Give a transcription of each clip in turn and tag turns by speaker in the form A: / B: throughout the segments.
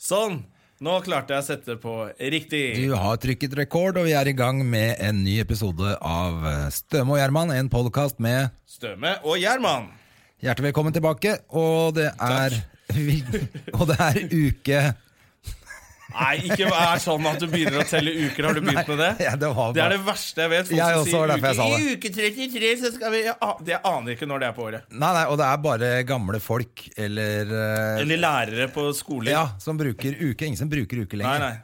A: Sånn! Nå klarte jeg å sette på riktig.
B: Du har trykket rekord, og vi er i gang med en ny episode av eh, Støme og Gjerman, en podkast med
A: Støme og Gjerman.
B: hjertelig velkommen tilbake. Og det er, og det er uke
A: Nei, ikke vær sånn at du begynner å telle uker. Har du begynt med det?
B: Ja, det var
A: Det er
B: bare-
A: det verste jeg vet. Folk
B: Jeg
A: som
B: også,
A: sier
B: var derfor jeg
A: uke,
B: sa det.
A: I uke 33 så skal vi Jeg a- det- Jeg aner ikke når det er på året.
B: Nei, nei, og det er bare gamle folk eller, eh,
A: Eller lærere på skole.
B: ja, som bruker uke. Ingen som bruker uke
A: Nei,
B: lenger.
A: nei.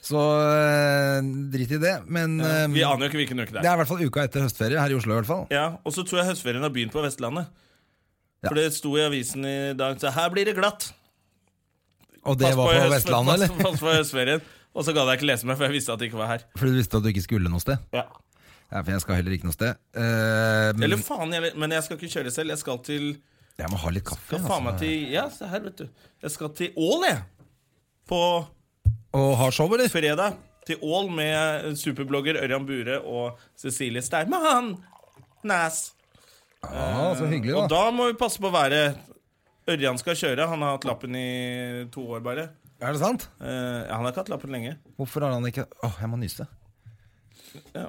B: Så eh, drit i det. Men eh,
A: Vi aner jo ikke hvilken uke det
B: det
A: er.
B: er i hvert fall uka etter høstferie her i Oslo. i hvert fall
A: Ja, Og så tror jeg høstferien har begynt på Vestlandet. For det sto i avisen i dag. Så her blir det glatt.
B: Og det
A: Pass
B: var på
A: høst-
B: Vestlandet,
A: pass-
B: eller?
A: Pass på høstferien. Og så gadd jeg ikke lese meg, for jeg visste at det ikke var her.
B: Fordi du visste at du ikke skulle noe sted?
A: Ja.
B: Ja, for jeg skal heller ikke noe sted. Eh, men
A: Eller faen, jeg, men jeg skal ikke kjøre selv. Jeg skal til
B: jeg må ha litt kaffe. altså.
A: Skal faen meg til Ja, se her, vet du. Jeg skal til Ål, jeg. På
B: Og ha show, eller?
A: fredag. Til Ål med superblogger Ørjan Bure og Cecilie Steinmann. Næs.
B: Ja, så hyggelig,
A: Og
B: da.
A: da må vi passe på været. Ørjan skal kjøre. Han har hatt lappen i to år, bare.
B: Er det sant?
A: Eh, ja, han har ikke hatt lappen lenge.
B: Hvorfor har han ikke Åh, jeg må nyse.
A: Ja.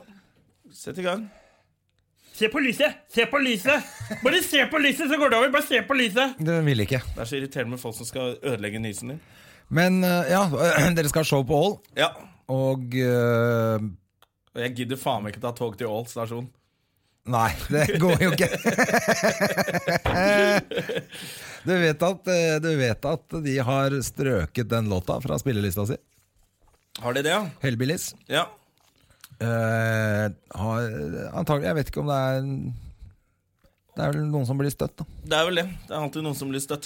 A: Sett i gang.
C: Se på lyset! Se på lyset! Bare se på lyset, så går det over. Bare se på lyset.
B: Du ville ikke.
A: Det er så irriterende med folk som skal ødelegge nysen din.
B: Men eh, ja, dere skal ha show på Ål,
A: Ja.
B: og eh,
A: Og jeg gidder faen meg ikke ta tog til Ål stasjon.
B: Nei, det går jo ikke. du, vet at, eh, du vet at de har strøket den låta fra spillelista si.
A: Har de det, ja?
B: Hellbillies.
A: Ja.
B: Eh, har, antagelig, jeg vet ikke om det er Det er vel noen som blir støtt, da.
A: Det er vel det. Det er alltid noen som blir støtt.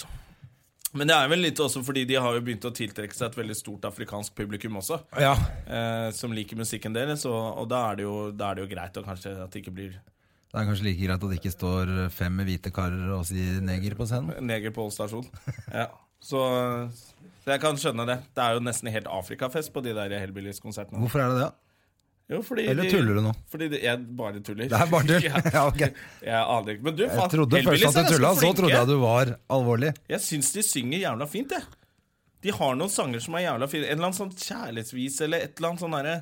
A: Men det er vel litt også fordi de har jo begynt å tiltrekke seg et veldig stort afrikansk publikum også,
B: Ja.
A: eh, som liker musikken deres, og, og da, er det jo, da er det jo greit å kanskje at det ikke blir
B: Det er kanskje like greit at det ikke står eh, fem hvite karer og sier neger på scenen.
A: neger på Ål stasjon. Ja. Så, så jeg kan skjønne det. Det er jo nesten helt Afrikafest på de der Hellbillies-konsertene.
B: Hvorfor er det det?
A: Jo, fordi
B: Eller
A: de-
B: tuller du nå?
A: Fordi de, jeg bare tuller.
B: Det er bare tull.
A: Ja.
B: Ja, ok.
A: Jeg aner ikke. Men du, faen,
B: Jeg trodde
A: Hellbillies er
B: først at du
A: ganske
B: tulla, så
A: flinke.
B: trodde jeg du var alvorlig.
A: Jeg syns de synger jævla fint, jeg. De har noen sanger som er jævla fine. En eller annen sånn kjærlighetsvis eller et eller annet sånn derre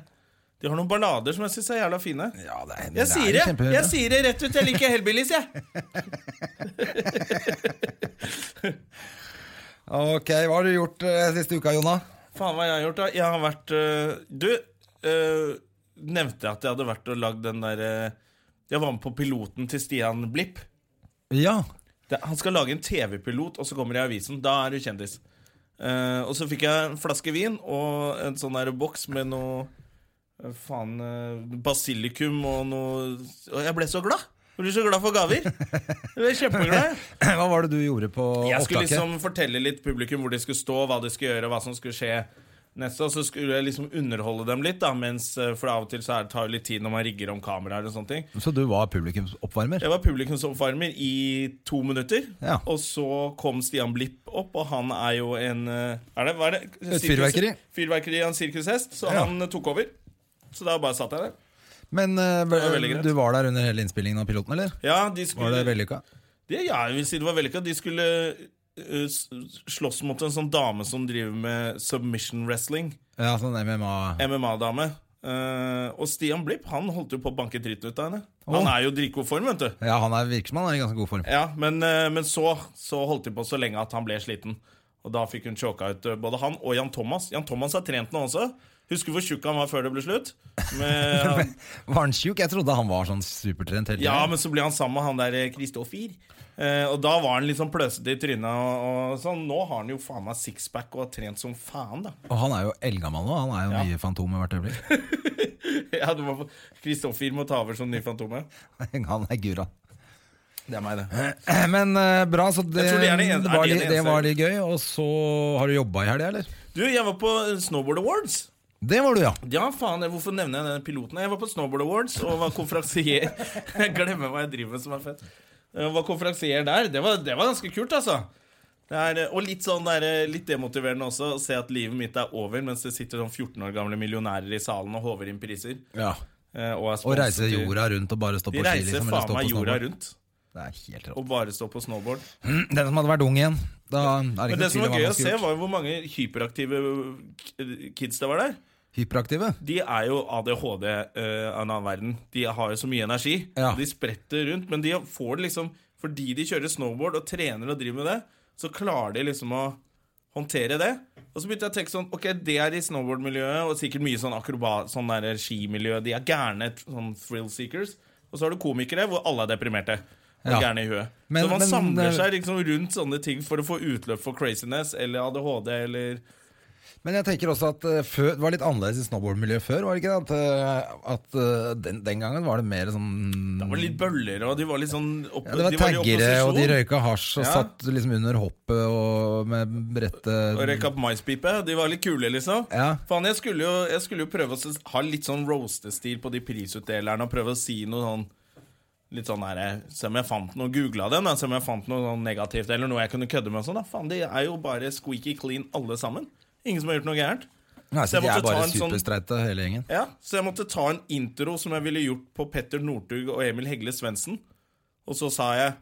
A: De har noen ballader som jeg syns er jævla fine.
B: Ja, det er,
A: Jeg sier det! Jeg sier det rett ut. Jeg liker Hellbillies, jeg.
B: Ok, hva har du gjort eh, siste uka, Jonna?
A: Faen, hva jeg har gjort, da. Jeg har vært øh, Du, øh, nevnte jeg at jeg hadde vært og lagd den derre Jeg var med på piloten til Stian Blipp.
B: Ja.
A: Det, han skal lage en TV-pilot, og så kommer det i avisen. Da er du kjendis. Eh, og så fikk jeg en flaske vin og en sånn der boks med noe eh, faen eh, basilikum og noe Og jeg ble så glad! Jeg blir så glad for gaver. Jeg ble kjempeglad. jeg.
B: Hva var det du gjorde på
A: Jeg skulle
B: opptaket?
A: liksom fortelle litt publikum hvor de skulle stå, hva de skulle gjøre, hva som skulle skje. Neste, og så skulle jeg liksom underholde dem litt, da, mens, eh, for av og til så er det tar det litt tid når man rigger om kameraer. og sånne ting
B: Så du var publikumsoppvarmer?
A: jeg var publikumsoppvarmer i to minutter,
B: Ja.
A: og så kom Stian Blipp opp, og han er jo en eh, er det, hva er det?
B: Et fyrverkeri.
A: Fyrverkeri av en sirkushest, så
B: Ja.
A: han eh, tok over. Så da bare satt jeg der.
B: Men eh,
A: var veldig greit.
B: du var der under hele innspillingen av piloten, eller?
A: Ja, de
B: Var
A: skulle,
B: det vellykka?
A: det, ja jeg vil si det var vellykka. De skulle eh, s- slåss mot en sånn dame som driver med submission wrestling.
B: Ja, sånn MMA
A: MMA-dame. Eh, og Stian Blipp han holdt jo på å banke dritten ut av henne. Han er jo i dritgod form, vet du.
B: Ja, han er virker som han er i ganske god form.
A: Ja, men, eh, men så, så holdt de på så lenge at han ble sliten. Og da fikk hun choka ut eh, både han og Jan Thomas. Jan Thomas har trent nå også. Husker hvor tjukk han var før det ble slutt? Men han,
B: Var han tjukk? Jeg trodde han var sånn supertrent hele
A: ja,
B: tiden.
A: men så ble han sammen med han der eh, Kristoffer. Eh, og da var han litt sånn pløsete i trynet. Og, og sånn. Nå har han jo faen meg sixpack og har trent som faen, da.
B: Og han er jo eldgammel nå. Han er jo nye fantomet hvert øyeblikk.
A: Ja, du må få- Kristoffer må ta over som ny Fantomet.
B: Han er gura.
A: Det er meg, det.
B: Men eh, bra, så det,
A: Jeg tror det er det eneste- er
B: var,
A: det
B: litt,
A: det
B: det
A: eneste?
B: var litt gøy. Og så har du jobba i helga, eller?
A: Du, jeg var på eh, Snowboard Awards.
B: Det var du, ja.
A: Ja, faen, jeg- hvorfor nevner jeg den piloten? Jeg var på Snowboard Awards og var konferansier. Jeg glemmer hva jeg driver med som er fett. Jeg var konferansier der. Det var, det var ganske kult, altså. Det er, og litt sånn der, litt demotiverende også å se at livet mitt er over mens det sitter sånn 14 år gamle millionærer i salen og håver inn priser. eh, Og, er
B: Og reise
A: sponset til-
B: jorda rundt og bare stå
A: De
B: på ski,
A: reiser
B: liksom. Eller
A: faen
B: stå på
A: meg jorda
B: snowboard.
A: rundt
B: Det er helt rått.
A: og bare står på snowboard.
B: Den som hadde vært ung igjen. Da er det
A: Men
B: ikke
A: det
B: noe
A: som var
B: tvil om hva
A: gøy
B: man
A: å
B: skulle
A: se,
B: gjort.
A: var jo hvor mange hyperaktive k- kids det var der.
B: Hyperaktive?
A: De er jo ADHD eh, av en annen verden. De har jo så mye energi.
B: Ja.
A: De spretter rundt, men de får det liksom Fordi de kjører snowboard og trener og driver med det, så klarer de liksom å håndtere det. Og så begynte jeg å tenke sånn Ok, det er i snowboardmiljøet, og sikkert mye sånn akrobat, sånn der skimiljø. De er gærne sånn thrill seekers. Og så har du komikere hvor alle er deprimerte. Og
B: Ja.
A: gærne i huet.
B: Men-
A: så man
B: men-
A: samler seg liksom rundt sånne ting for å få utløp for craziness eller ADHD eller
B: Men jeg tenker også at eh, før, det var litt annerledes i snowboardmiljøet før, var det ikke det? At, eh, at eh, den, den gangen var det mer sånn
A: Det var litt bøller, og de var litt sånn opp,
B: ja, det var
A: de i
B: taggere, og de
A: opposisjon.
B: røyka hasj og
A: Ja.
B: satt liksom under hoppet og med brettet
A: Og røyka opp maispipe. De var litt kule, liksom.
B: Ja.
A: Faen, jeg skulle jo, jeg skulle jo prøve å s- ha litt sånn roastestil på de prisutdelerne og prøve å si noe sånn Litt sånn her, Se om jeg fant noe, googla dem, da, se om jeg fant noe sånn negativt eller noe jeg kunne kødde med. og sånn da Faen, de er jo bare squeaky clean alle sammen. Ingen som har gjort noe gærent.
B: Nei,
A: Så
B: så
A: jeg
B: de
A: måtte
B: er
A: ta
B: bare
A: en sånn-
B: superstreite, hele gjengen.
A: Ja, Så jeg måtte ta en intro som jeg ville gjort på Petter Northug og Emil Hegle Svendsen. Og så sa jeg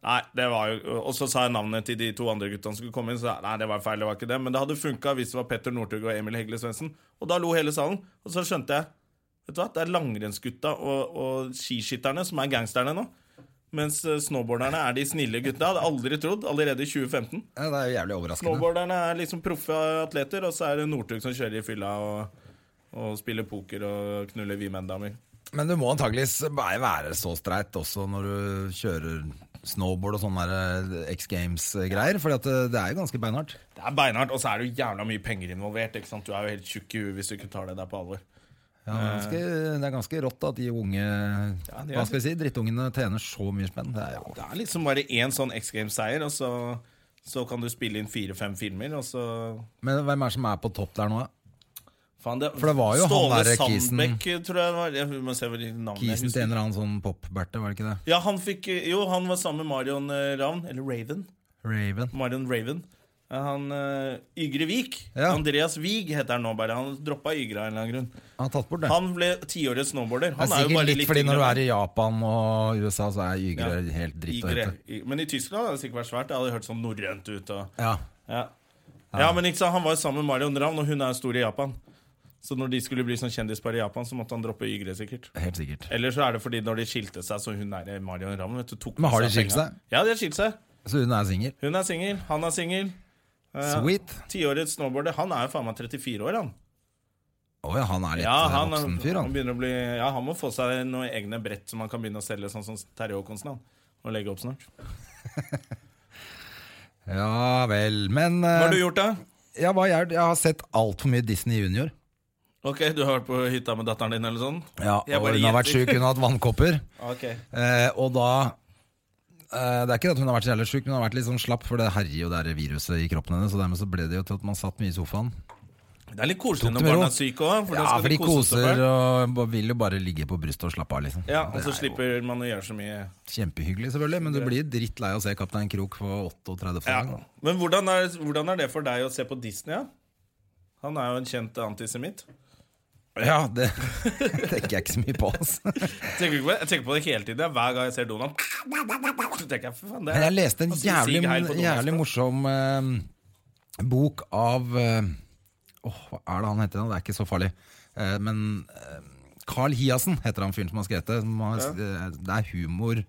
A: Nei, det var jo Og så sa jeg navnet til de to andre guttene som skulle komme inn. Så sa jeg, nei, det var feil, det var ikke det. Men det hadde funka hvis det var Petter Northug og Emil Hegle Svendsen. Og da lo hele salen. Og så skjønte jeg Vet du hva, det er langrennsgutta og, og skiskytterne som er gangsterne nå. Mens eh, snowboarderne er de snille gutta. Hadde aldri trodd. Allerede i 2015.
B: Ja, det er jo jævlig overraskende.
A: Snowboarderne er liksom proffe atleter, og så er det Northug som kjører i fylla og, og spiller poker og knuller Wiemen-damer.
B: Men du må antageligvis bare være så streit også når du kjører snowboard og sånne der, eh, X Games-greier, for det eh, det er jo ganske beinhardt.
A: Det er beinhardt, og så er det jo jævla mye penger involvert. ikke sant? Du er jo helt tjukk i huet hvis du ikke tar det der på alvor.
B: Ja, det, er ganske, det er ganske rått at de unge
A: det er
B: Hva skal vi si, drittungene tjener så mye spenn. Det er jo
A: Det er liksom bare én sånn X Games-seier, og så, så kan du spille inn fire-fem filmer, og så
B: Men hvem er det som er på topp der nå? da?
A: Faen, det,
B: For det var jo han der Kisen.
A: Sandbeck, tror jeg det var. Jeg må se hva navnet jeg
B: Kisen
A: husker.
B: til en eller annen sånn pop-berte, var det ikke det?
A: Ja, han fikk Jo, han var sammen med Marion eh, Ravn, eller Raven.
B: Raven.
A: Marion Raven. Ja, Han eh, Ygre Vik.
B: Ja.
A: Andreas Wiig heter han nå bare. Han droppa Ygre av en eller annen grunn.
B: Han har tatt bort det.
A: Han ble tiårets snowboarder.
B: det
A: Han
B: er sikkert
A: jo bare
B: litt, fordi når du
A: yngre.
B: er i Japan og USA, så er ygre
A: Ja.
B: helt dritt å
A: Ygre.
B: hete.
A: Y- Men i Tyskland hadde det sikkert vært svært. Det hadde hørt sånn norrønt ut. Og,
B: Ja.
A: ja. ja, men ikke sant, Han var jo sammen med Marion Ravn, og hun er jo stor i Japan. Så når de skulle bli sånn kjendispar i Japan, så måtte han droppe Ygre, sikkert.
B: Helt sikkert.
A: Eller så er det fordi når de skilte seg, så hun der Marion Ravn vet du, tok
B: Men har
A: med
B: de skilt
A: penga.
B: seg?
A: Ja, de har skilt seg.
B: Så hun er singel.
A: Hun er singel, han er singel. Eh,
B: Sweet.
A: Tiårets snowboarder. Han er jo faen meg 34 år, han.
B: Å ja, han er litt
A: Ja,
B: eh,
A: han,
B: voksen fyr,
A: han
B: han.
A: begynner å bli Ja, han må få seg noen egne brett som han kan begynne å selge, sånn som Terje Håkonsen, han. Og legge opp snart.
B: Eh. Ja vel. Men
A: Hva
B: eh,
A: har du gjort, da?
B: ja, hva jeg, jeg har sett altfor mye Disney Junior.
A: Ok, du har vært på hytta med datteren din, eller sånn?
B: Ja,
A: Jeg
B: og
A: bare
B: hun har vært
A: gjetter.
B: sjuk, hun har hatt vannkopper.
A: Ok
B: Eh, og da eh, Det er ikke det at hun har vært så jævlig sjuk, men hun har vært litt sånn slapp, for det herjer jo det her viruset i kroppen hennes. Og dermed så ble det jo til at man satt mye i sofaen.
A: Det er litt koselig
B: Tok
A: når
B: det med
A: barna
B: ro.
A: er syke òg. For da
B: Ja,
A: skal
B: for de
A: kose seg
B: koser
A: selv.
B: og ba- vil jo bare ligge på brystet og slappe av, liksom.
A: Ja, Og
B: Det
A: så
B: er jo
A: slipper man å gjøre så mye.
B: Kjempehyggelig, selvfølgelig, men du blir drittlei av å se Kaptein Krok på 38.
A: Ja.
B: gang, da.
A: Men hvordan er, hvordan er det for deg å se på Disney? Ja? Han er jo en kjent antisemitt.
B: Ja, det tenker jeg ikke så mye på, altså.
A: Jeg tenker ikke på det- jeg tenker på det hele tiden. jeg. Hver gang jeg ser Donald Så tenker jeg, for faen, det
B: Men jeg leste en
A: Han skulle
B: jævlig,
A: sige heil på Donald.
B: jævlig morsom eh, bok av eh, Åh, hva er det han heter? nå? Det er ikke så farlig. Eh, men eh, Carl Hiassen heter han fyren som har skrevet det. Som har, eh, Det er humor,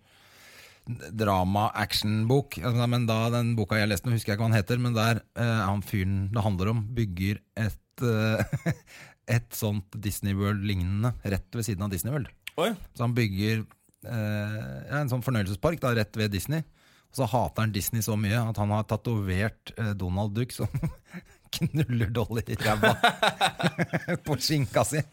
B: drama, actionbok. Altså, Men da den boka jeg leste, nå husker jeg ikke hva han heter, men der eh, er han fyren det handler om, bygger et eh, et sånt Disney World-lignende rett ved siden av Disney World.
A: Oi,
B: Så han bygger eh, ja, en sånn fornøyelsespark da, rett ved Disney. Og så hater han Disney så mye at han har tatovert eh, Donald Duck som knuller Dolly i ræva på skinka si.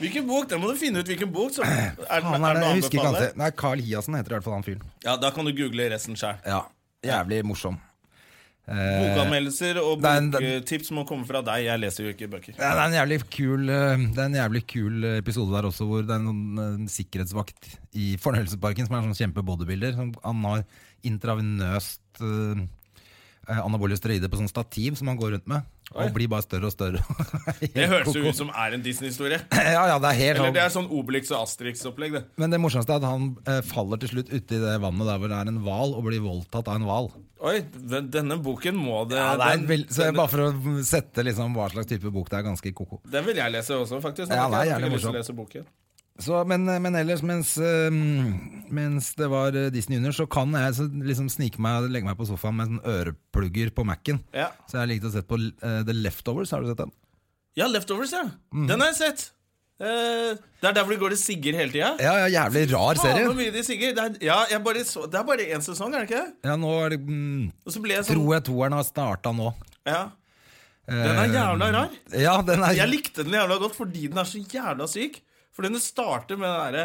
A: Hvilken bok? Den må du finne ut hvilken bok. Så er, den- er
B: Han
A: den
B: er,
A: å
B: jeg husker ikke
A: anbefale?
B: han Nei, Carl Hiassen heter i hvert fall han fyren.
A: Ja, Da kan du google resten sjøl.
B: Ja, Jævlig morsom. Eh,
A: Bokanmeldelser og
B: Nei, den-
A: boktips må komme fra deg. Jeg leser jo ikke bøker.
B: Ja, det, er en jævlig kul, eh, det er en jævlig kul eh, episode der også, hvor det er noen eh, sikkerhetsvakt i fornøyelsesparken som er en sånn kjempebodybuilder. som- Han har intravenøst eh, eh, anabole steroider på sånn stativ som han går rundt med. Og blir bare større og større.
A: Det høres jo ut som er en Disney-historie.
B: Ja, ja, det er helt sånn.
A: Eller det er sånn Obelix og Asterix-opplegg, det.
B: Men det morsomste er at han eh, faller til slutt uti det vannet der hvor det er en hval, og blir voldtatt av en hval.
A: Oi, den- denne boken må det
B: Ja, det er en
A: den-
B: vel- så
A: den-
B: Bare for å sette liksom hva slags type bok det er, ganske koko.
A: Den vil jeg lese også, faktisk.
B: Ja,
A: Nå fikk
B: det er
A: jeg
B: jævlig
A: lyst til å
B: morsomt.
A: lese boken.
B: Så, men, men ellers, mens, eh, mens det var eh, Disney under, så kan jeg så liksom snike meg og legge meg på sofaen med sånn øreplugger på Mac-en.
A: Ja.
B: Så jeg likte å se på eh, The Leftovers. Har du sett den?
A: ja, Leftovers, ja.
B: Mm.
A: Den har jeg sett. Eh, det er der hvor det går til Sigger hele tida.
B: Ja, ja Jævlig
A: Faen
B: rar serie.
A: hvor mye de sigger. Det er, ja, jeg bare så, det er bare én sesong, er det ikke det?
B: Ja, nå er det, mm,
A: Og så ble jeg sånn
B: tror jeg toeren har starta nå. Eh,
A: ja. Den er jævla rar.
B: Ja, den er
A: Jeg likte den jævla godt fordi den er så jævla syk. For den starter med det derre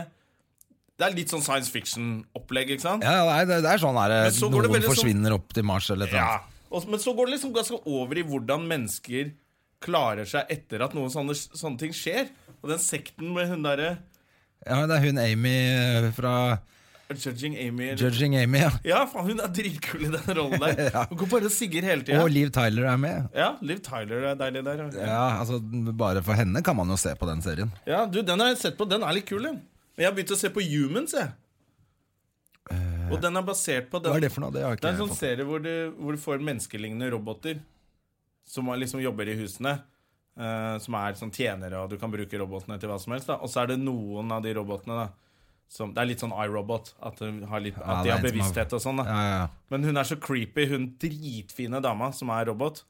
A: Det er litt sånn science fiction-opplegg, ikke sant?
B: Ja, ja, nei, det, det er sånn her eh,
A: Men så går det
B: Noen
A: veldig sånn-
B: forsvinner opp til Mars eller noe.
A: Ja. Og, men så går det liksom ganske over i hvordan mennesker klarer seg etter at noen sånne, sånne ting skjer. Og den sekten med hun derre
B: Ja, det er hun Amy eh, fra
A: Judging Amy eller-
B: Judging Amy. Ja.
A: Ja, faen, hun er dritkul i den rollen der. Hun går bare og sigger hele tida.
B: Og Liv Tyler er med.
A: Ja, Liv Tyler er deilig der. Ja.
B: Ja, altså Bare for henne kan man jo se på den serien.
A: Ja, du, den har jeg sett på. Den er litt kul, den. Men jeg har begynt å se på Humans, jeg. Og den er basert på
B: Eh. Hva
A: den.
B: er
A: Det
B: det for noe? Det har ikke
A: er en
B: jeg
A: sånn
B: fått.
A: serie hvor du, hvor du får menneskelignende roboter som er- liksom jobber i husene. eh, som er sånn tjenere, og du kan bruke robotene til hva som helst. da Og så er det noen av de robotene da som Det er litt sånn iRobot. At, de har litt-
B: Ja,
A: at de
B: det er
A: har
B: en som har-
A: bevissthet og sånn. da
B: Ja, ja, ja.
A: Men hun er så creepy, hun dritfine dama som er robot.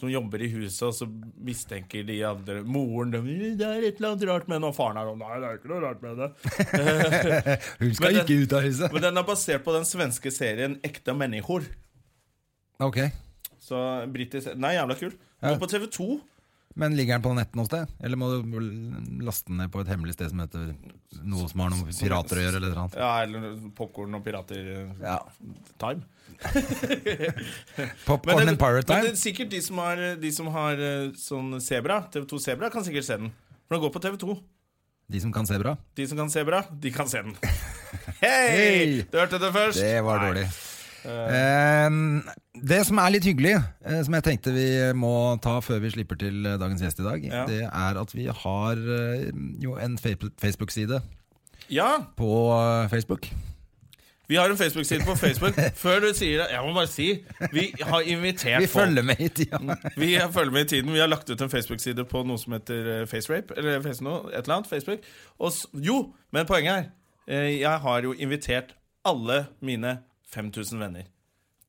A: Som jobber i huset, og så mistenker de andre moren dem, Det er et eller annet rart med henne, og faren er sånn Nei, det er ikke noe rart med det.
B: Hun skal
A: Men det-
B: ikke ut av huset.
A: Men den er basert på den svenske serien Ekte mennesker.
B: Ok,
A: Så britisk Nei, jævla kul. Gå
B: Ja.
A: på TV2.
B: Men ligger den på netten noe sted? Eller må du l- laste den ned på et hemmelig sted som heter noe som har noe med pirater å gjøre? eller noe annet?
A: Ja, eller popkorn og pirater eh,
B: Ja.
A: time.
B: Popcorn and Pirate
A: men det
B: Time?
A: er sikkert de som har, de som har eh, sånn Sebra, TV2 Sebra, kan sikkert se den. For den går på TV2.
B: De som kan se bra?
A: De som kan se bra, de kan se den.
B: Hei!
A: Hei! Du hørte det først.
B: Det var
A: Nei.
B: dårlig. Eh, det som er litt hyggelig, eh, som jeg tenkte vi må ta før vi slipper til eh, dagens gjest i dag,
A: Ja.
B: det er at vi har eh, jo en fe- Facebook-side
A: Ja,
B: på eh, Facebook.
A: vi har en Facebook-side på Facebook. Før du sier det, jeg må bare si Vi har invitert
B: Vi følger med i tida.
A: folk. Vi følger med i tiden. Vi har lagt ut en Facebook-side på noe som heter eh, FaceRape. Eller face noe, et eller annet. Facebook. Og, s- jo, men poenget er eh, Jeg har jo invitert alle mine 5000 venner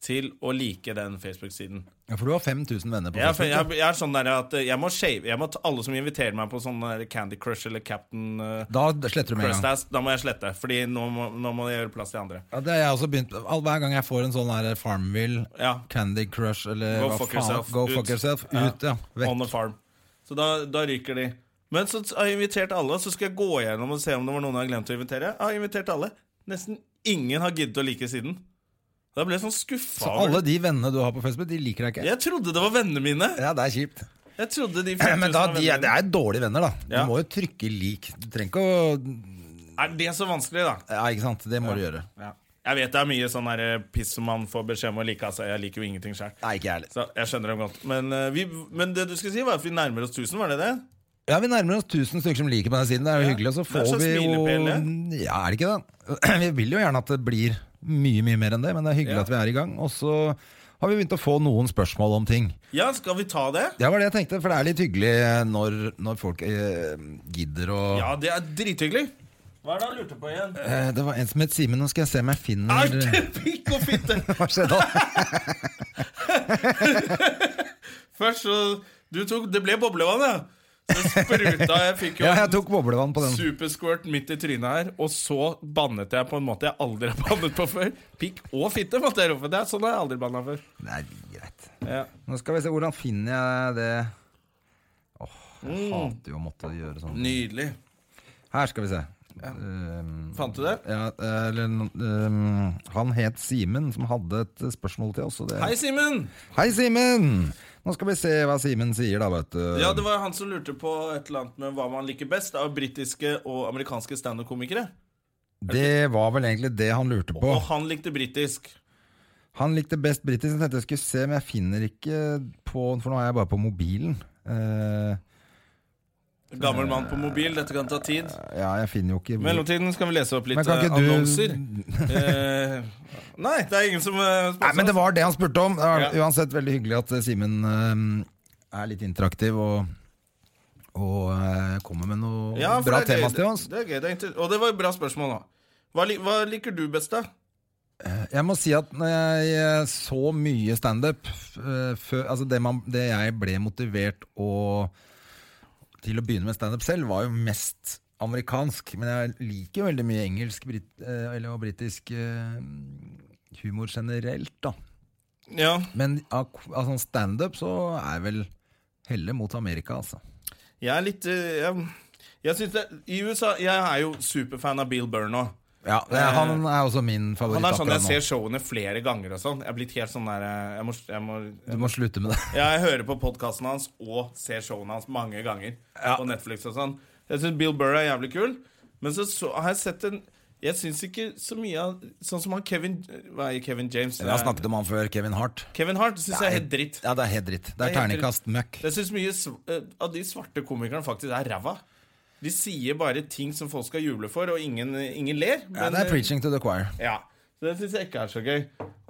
A: til å like den Facebook-siden.
B: Ja, for du har 5000 venner på
A: Jeg, er-
B: Facebook.
A: jeg, jeg er sånn der at eh, jeg må shave jeg må ta, Alle som inviterer meg på sånn der Candy Crush eller Captain eh,
B: Da sletter du med en gang.
A: Crustass, da må jeg slette, Fordi nå må, nå må jeg gjøre plass til andre.
B: Ja, det har jeg også begynt all- Hver gang jeg får en sånn her Farmville,
A: Ja,
B: Candy Crush eller
A: Go
B: hva
A: fuck
B: faen,
A: yourself.
B: Go
A: Ut.
B: fuck yourself.
A: Ja.
B: Ut, ja. Vekk.
A: On the farm. Så da, da ryker de. Men så har jeg invitert alle, så skal jeg gå gjennom og se om det var noen jeg har glemt å invitere. Jeg har invitert alle. Nesten ingen har giddet å like siden. Da ble jeg sånn skuffa.
B: Så alle de vennene du har på Facebook, de liker deg ikke?
A: Jeg trodde det var vennene mine.
B: Ja, det er kjipt.
A: Jeg trodde de 5000
B: Men da,
A: var
B: de,
A: vennene
B: det
A: mine.
B: er dårlige venner, da. Du
A: Ja.
B: må jo trykke lik. Du trenger ikke å
A: Er det så vanskelig, da?
B: Ja, ikke sant. Det må du gjøre.
A: Jeg vet det er mye sånn her, eh, piss som man får beskjed om å like. Altså, jeg liker jo ingenting sjøl.
B: Nei, ikke jeg heller.
A: Så jeg skjønner dem godt. Men, eh, vi, men det du skulle si, var at vi nærmer oss 1000, var det det?
B: Ja, vi nærmer oss 1000 stykker som liker på den siden. Det er jo hyggelig. Og så
A: Det er
B: får
A: en slags
B: vi jo
A: milepæl,
B: Ja, er det ikke det? Vi vil jo gjerne at det blir mye, mye mer enn det, men det er hyggelig
A: Ja.
B: at vi er i gang. Og så har vi begynt å få noen spørsmål om ting.
A: Ja, skal vi ta det?
B: Det var det jeg tenkte, for det er litt hyggelig eh, når, når folk eh, gidder å
A: Ja, det er drithyggelig. Hva er det han lurte på igjen?
B: eh, Det var en som het Simen, nå skal jeg se om jeg
A: Nei,
B: finner
A: pikk og fitte!
B: Hva skjedde da?
A: Først så du tok, Det ble boblevann, ja. Så spruta jeg. Fikk jo
B: Ja, jeg tok boblevann på
A: en
B: den.
A: supersquirt midt i trynet her. Og så bannet jeg på en måte jeg aldri har bannet på før. Pikk og fitte, måtte jeg rope. Det er sånn har jeg aldri banna før.
B: Nei, greit.
A: Ja.
B: Nå skal vi se, hvordan finner jeg det Åh, jeg
A: Mm.
B: hater jo å måtte gjøre sånn.
A: Nydelig.
B: Her skal vi se. Um,
A: Fant du det?
B: Ja, eh, eller um, Han het Simen, som hadde et spørsmål til oss. og Det.
A: Hei, Simen!
B: Hei, Simen! Nå skal vi se hva Simen sier, da, vet du.
A: Ja, det var han som lurte på et eller annet med hva man liker best av britiske og amerikanske standup-komikere.
B: det var vel egentlig det han lurte på.
A: Og han likte britisk.
B: Han likte best britisk. Jeg tenkte jeg skulle se, men jeg finner ikke på For nå er jeg bare på mobilen. Eh,
A: Gammel mann på mobil, dette kan ta tid.
B: ja, jeg finner jo
A: I
B: ikke hvor-
A: mellomtiden skal vi lese opp litt
B: Men kan
A: eh,
B: ikke du-
A: annonser. Eh, nei, det er ingen som eh,
B: Nei, men det var det han spurte om. Det var
A: Ja.
B: Uansett, veldig hyggelig at eh, Simen eh, er litt interaktiv og, og eh, kommer med noe
A: Ja, for
B: bra
A: det er gøy.
B: tema til oss.
A: Det er gøy, det er inter- Og det var et bra spørsmål, da. Hva, li hva liker du best, da?
B: Jeg må si at når jeg eh, så mye standup eh, før Altså, det, man, det jeg ble motivert å, til å begynne med standup selv, var jo mest amerikansk. Men jeg liker jo veldig mye engelsk brit, eh, eller, og britisk eh, humor generelt, da.
A: Ja,
B: Men av, av sånn standup så er jeg vel heller mot Amerika, altså.
A: jeg er litt eh, jeg, jeg synes det, I USA Jeg er jo superfan av Bill Burr nå.
B: Ja, det, er- Eh, Han er også min favoritt
A: eh, Han er sånn
B: akkurat
A: jeg
B: nå.
A: ser showene flere ganger og sånn. Jeg er blitt helt sånn der eh, Jeg må, jeg må
B: Du må slutte med det.
A: Ja, jeg hører på podkasten hans og ser showene hans mange ganger på Netflix og sånn. Jeg syns Bill Burr er jævlig kul, men så, så har jeg sett en Jeg syns ikke så mye av Sånn som han Kevin Hva er Kevin James?
B: Jeg har snakket om han før, Kevin Hart.
A: Kevin Hart syns jeg er helt dritt.
B: Ja, det er helt dritt. Det
A: Det er
B: er
A: helt dritt.
B: terningkast møkk.
A: Jeg syns mye sv- eh, av de svarte komikerne faktisk er ræva. De sier bare ting som folk skal juble for, og ingen, ingen ler.
B: Ja,
A: men,
B: det
A: eh,
B: er preaching to the choir.
A: Ja, så Det syns jeg ikke er så gøy.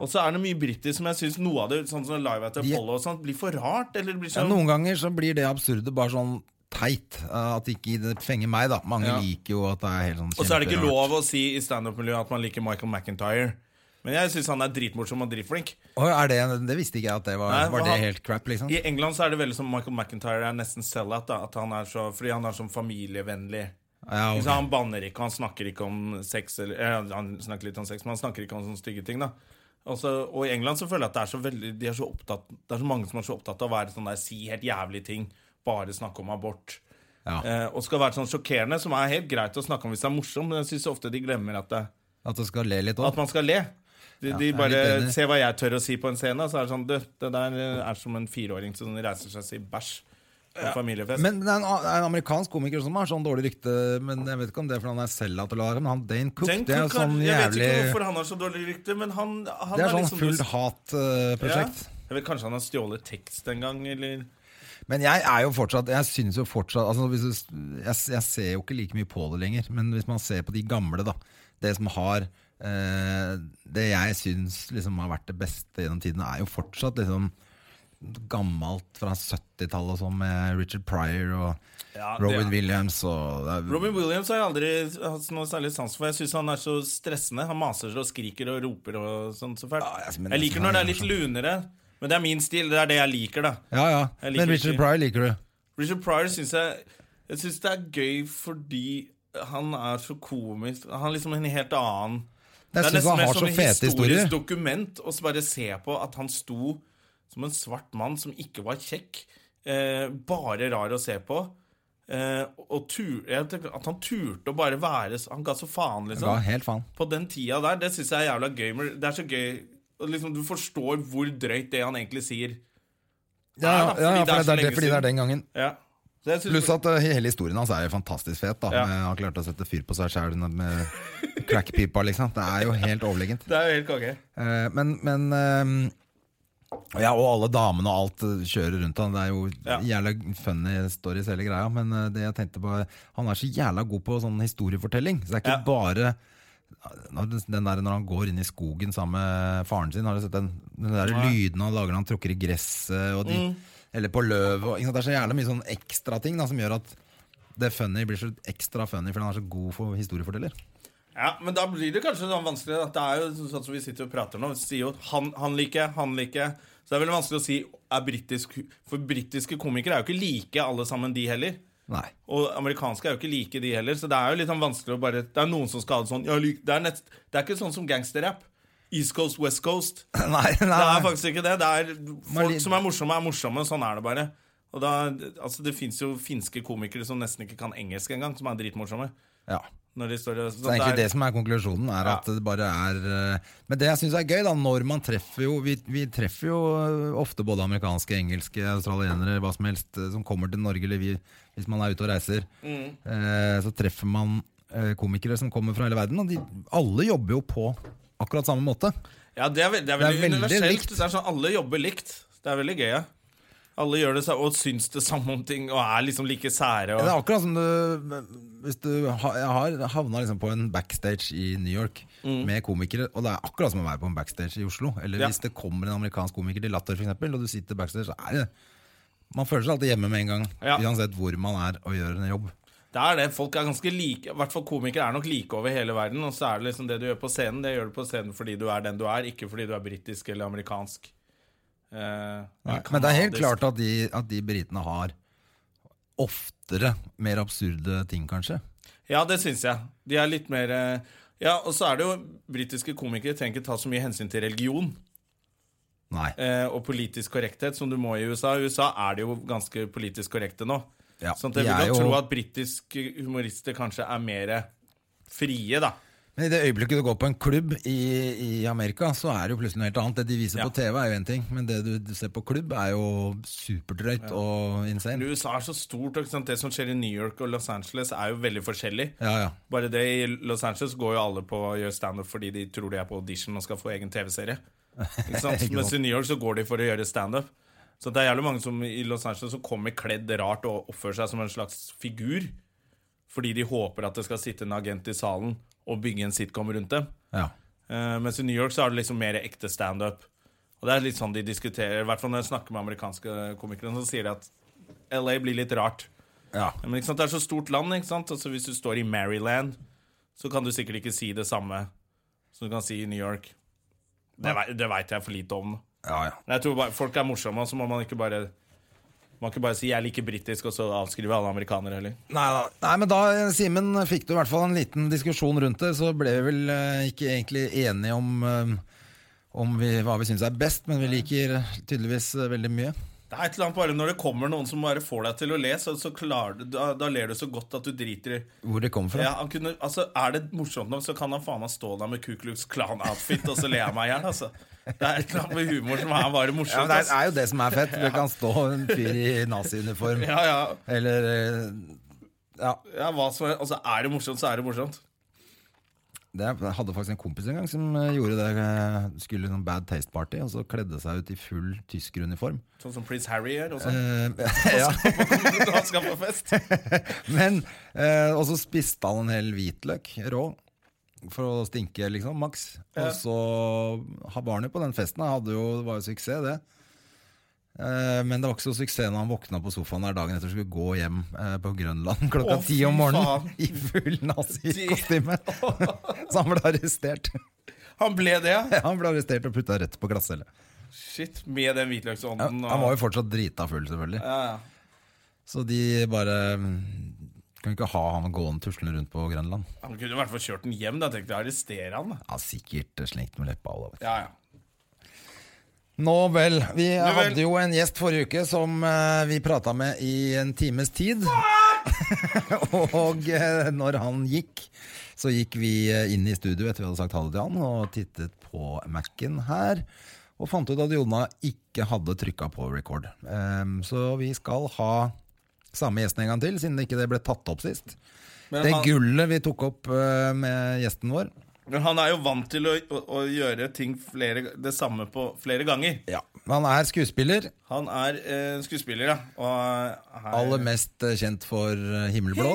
A: Og så er det mye britisk som jeg syns noe av det Sånn som Live at
B: De-
A: Apollo og sånt blir for rart. Eller blir
B: Ja,
A: sånn
B: noen ganger så blir det absurde bare sånn teit. eh, At ikke det fenger meg, da. Mange
A: Ja.
B: liker jo at det er helt sånn
A: Og så er det ikke
B: kjemperart.
A: lov å si i standup-miljøet at man liker Michael McIntyre. Men jeg syns han er dritmorsom og dritflink.
B: Å, er det, det visste ikke jeg at det var,
A: Nei,
B: var
A: for
B: det
A: han-
B: helt crap, liksom.
A: I England så er det veldig som Michael McIntyre er nesten sell-out. da, at han er så, Fordi han er sånn familievennlig.
B: Ja,
A: Ikke sant,
B: Ah, ok.
A: Han banner ikke, han snakker ikke om sex eller, eh, Han snakker litt om sex, men han snakker ikke om sånne stygge ting. da og, så, og i England så føler jeg at det er så veldig de er så opptatt, Det er så mange som er så opptatt av å være sånn der si helt jævlige ting. Bare snakke om abort.
B: ja.
A: Eh, og skal være sånn sjokkerende, som er helt greit å snakke om hvis det er morsomt, men jeg syns ofte de glemmer at det,
B: At du skal le litt
A: at
B: òg.
A: man skal le. De, de
B: jeg er litt
A: bare
B: enig.
A: ser hva jeg tør å si på en scene, så er det sånn Du, det der er som en fireåring som reiser seg og sier bæsj på familiefest.
B: Men det er en, a- det er en amerikansk komiker som har sånn dårlig rykte. Men Jeg vet ikke om det er fordi han er sellout eller hva det er, men han Dane Cook,
A: Tenk,
B: det er jo
A: Cook har-
B: sånn
A: Jeg vet
B: jævlig
A: ikke hvorfor han har så dårlig rykte, men han, han
B: Det er sånn
A: liksom
B: fullt eh, hat-prosjekt.
A: Ja. Jeg vet Kanskje han har stjålet tekst en gang, eller
B: Men jeg er jo fortsatt Jeg synes jo fortsatt altså hvis du, jeg, jeg ser jo ikke like mye på det lenger, men hvis man ser på de gamle, da Det som har eh, Det jeg syns liksom har vært det beste gjennom tidene, er jo fortsatt liksom gammelt fra 70-tallet og sånn, med Richard Pryor og
A: Ja, det
B: Robin
A: er-
B: Williams og det er,
A: Robin Williams har jeg aldri hatt noe særlig sans for. Jeg syns han er så stressende. Han maser og skriker og roper og sånn så fælt.
B: Ah, Ja, jeg- men
A: Jeg
B: jeg
A: liker
B: synes
A: når det er
B: han er
A: litt lunere, men det er min stil. Det er det jeg liker, da.
B: Ja, ja.
A: Jeg liker
B: Men Richard
A: ikke-
B: Pryor liker du.
A: Richard Pryor syns jeg Jeg synes det er gøy fordi han er så komisk. Han er liksom en helt annen
B: Jeg syns han har så
A: et
B: fete historier.
A: dokument å bare se på at han sto som en svart mann som ikke var kjekk, eh, bare rar å se på. Eh, og tur, jeg tenker At han turte å bare være så- Han ga så faen, liksom
B: Ja, helt faen.
A: på den tida der, det syns jeg er jævla gøy. men Det er så gøy og liksom, Du forstår hvor drøyt det han egentlig sier.
B: Ja,
A: Nei,
B: ja,
A: da,
B: ja,
A: fordi det er så
B: for det er
A: lenge
B: det- fordi det
A: siden.
B: er den gangen.
A: Ja. Så jeg synes-
B: Pluss at eh, hele historien hans er jo fantastisk fet. da
A: Ja.
B: Med- Han klarte å sette fyr på seg sjæl med crackpipa, liksom. Det er jo helt overlegent.
A: det er jo helt konge.
B: Eh, Men, men eh, Ja, og alle damene og alt eh, kjører rundt han. Det er jo
A: Ja.
B: jævla funny stories, hele greia. Men eh, det jeg tenkte på han er så jævla god på sånn historiefortelling. Så det er
A: Ja.
B: ikke bare når, den der, når han går inn i skogen sammen med faren sin, har du sett den, den der lyden han lager når han tråkker i gresset og de,
A: Mm.
B: Eller på løvet og- ikke sant? Det er så jævla mye sånn ekstra ting da, som gjør at det funny blir så ekstra funny fordi han er så god for historieforteller.
A: Ja, Men da blir det kanskje sånn vanskelig. At det er jo sånn som vi sitter og prater nå. Vi sier jo han, han liker, jeg, han liker. jeg. Så det er veldig vanskelig å si er britisk For britiske komikere er jo ikke like alle sammen, de heller.
B: Nei.
A: Og amerikanske er jo ikke like, de heller. Så det er jo litt sånn vanskelig å bare Det er noen som skal ha det sånn. Jeg lik- det, er nett, det er ikke sånn som gangsterrap. East Coast, West Coast.
B: nei, nei,
A: Det
B: nei.
A: er faktisk ikke det. Det er Folk
B: Marlin-
A: som er morsomme, er morsomme. Sånn er det bare. Og da, altså Det fins jo finske komikere som nesten ikke kan engelsk engang, som er dritmorsomme.
B: Ja.
A: Når de står og,
B: Så det er egentlig
A: det
B: det som er konklusjonen. Er at det bare er eh, Men det jeg syns er gøy, da, når man treffer jo vi, vi treffer jo eh, ofte både amerikanske, engelske, australienere, hva som helst, eh, som kommer til Norge, eller vi, hvis man er ute og reiser. Eh, så treffer man eh, komikere som kommer fra hele verden, og de, alle jobber jo på akkurat samme måte.
A: Ja, det er, ve det er veldig,
B: Det er veldig
A: universelt.
B: likt.
A: Det er sånn, alle jobber likt. Det er veldig gøy. Ja. Alle gjør det sa- og syns det samme om ting og er liksom like sære. Og...
B: Det er akkurat som du Hvis du ha- jeg har havna liksom på en backstage i New York med komikere, og det er akkurat som å være på en backstage i Oslo. Eller
A: Ja.
B: hvis det kommer en amerikansk komiker til Latter, for eksempel, og du sitter backstage, så er det Man føler seg alltid hjemme med en gang,
A: Ja.
B: uansett hvor man er og gjør en jobb.
A: Det er det. Folk er ganske like. I hvert fall komikere er nok like over hele verden. Og så er det liksom det du gjør på scenen, det gjør du på scenen fordi du er den du er, ikke fordi du er britisk eller amerikansk. Eh, eller
B: Men det er helt
A: kanadisk.
B: klart at de, at de britene har oftere mer absurde ting, kanskje.
A: Ja, det syns jeg. De er litt mer eh, Ja, og så er det jo britiske komikere trenger ikke ta så mye hensyn til religion.
B: Nei.
A: eh, og politisk korrekthet som du må i USA. I USA er det jo ganske politisk korrekte nå.
B: Ja,
A: sånn at jeg
B: de er
A: vil jo
B: jo-
A: tro at britiske humorister kanskje er mer frie, da.
B: Men i det øyeblikket du går på en klubb i, i Amerika, så er det jo plutselig noe helt annet. Det de viser
A: Ja.
B: på TV, er jo én ting, men det du, du ser på klubb, er jo superdrøyt og
A: Men
B: insane.
A: USA er så stort, og ikke sant? det som skjer i New York og Los Angeles er jo veldig forskjellig.
B: Ja, ja.
A: Bare det i Los Angeles går jo alle på å gjøre standup fordi de tror de er på audition og skal få egen TV-serie. Ikke sant?
B: Ikke
A: Mens
B: sant.
A: i New York så går de for å gjøre standup. Så det er jævlig mange som i Los Angeles som kommer kledd rart og oppfører seg som en slags figur. Fordi de håper at det skal sitte en agent i salen og bygge en sitcom rundt dem.
B: ja.
A: Eh, mens i New York så er det liksom mer ekte standup. Og det er litt sånn de diskuterer. I hvert fall når jeg snakker med amerikanske komikere, så sier de at LA blir litt rart.
B: ja.
A: Men ikke sant, Det er så stort land. ikke sant? Altså Hvis du står i Maryland, så kan du sikkert ikke si det samme som du kan si i New York. Det, vei- det veit jeg for lite om.
B: ja, ja.
A: Men jeg tror bare, Folk er morsomme, og så må man ikke bare man kan ikke bare si 'jeg liker britisk', og så avskrive alle amerikanere heller.
B: Nei, da. Nei, men da, Simen, fikk du i hvert fall en liten diskusjon rundt det. Så ble vi vel eh, ikke egentlig enige om, eh, om vi, hva vi syns er best, men vi liker tydeligvis eh, veldig mye.
A: Det er et eller annet bare Når det kommer noen som bare får deg til å le, så, så klarer du, da, da ler du så godt at du driter i
B: Hvor det kommer fra.
A: ja, han kunne, altså, Er det morsomt nok, så kan han faen meg stå der med Ku Klux Klan-outfit, og så ler jeg meg i hjel. Altså. Det er et eller annet med humor som er bare
B: Ja, men
A: morsomt.
B: det
A: altså.
B: er jo det som er fett. Det kan stå en fyr i naziuniform,
A: Ja, ja,
B: eller eh, Ja.
A: ja, hva som er, altså, er det morsomt, så er det morsomt.
B: Det, jeg hadde faktisk en kompis en gang som eh, gjorde det. eh, Skulle i noen Bad Taste Party, og så kledde seg ut i full tyskeruniform.
A: Sånn som Prince Harry gjør. Og sånn.
B: Eh, ja.
A: Når han skal på fest.
B: Men eh, Og så spiste han en hel hvitløk rå. For å stinke, liksom, maks.
A: Ja.
B: Og så ha- var han jo på den festen. Han hadde jo, det var jo suksess, det. Eh, Men det var ikke så suksess når han våkna på sofaen der dagen etter og skulle gå hjem eh, på Grønland klokka
A: Å, fy
B: ti om morgenen
A: faen.
B: i full nazikostyme. Så han ble arrestert.
A: Han ble det, ja.
B: Han ble arrestert og putta rett på glattcelle.
A: Shit, med den
B: Ja,
A: hvitløksånden.
B: han var jo fortsatt drita full, selvfølgelig.
A: ja, ja.
B: Så de bare mm, Kan ikke ha han gående tuslende rundt på Grønland.
A: Han kunne i hvert fall kjørt den hjem. Da tenkte jeg arrestere han. da.
B: Ja, sikkert slengt med leppa. Olav.
A: Ja, ja.
B: Nå vel. Vi
A: vel.
B: hadde jo en gjest forrige uke som eh, vi prata med i en times tid. og eh, når han gikk, så gikk vi eh, inn i studio etter vi hadde sagt ha det til han, og tittet på Mac-en her. Og fant ut at Jonna ikke hadde trykka på record. Ehm, så vi skal ha samme gjesten en gang til, siden det ikke det ble tatt opp sist.
A: Men
B: det
A: han-
B: gullet vi tok opp eh, med gjesten vår.
A: Men han er jo vant til å, å, å gjøre ting flere, det samme på flere ganger.
B: Ja. Han er skuespiller.
A: Han er eh, skuespiller, ja. Og er
B: Aller mest eh, kjent for eh, Himmelblå.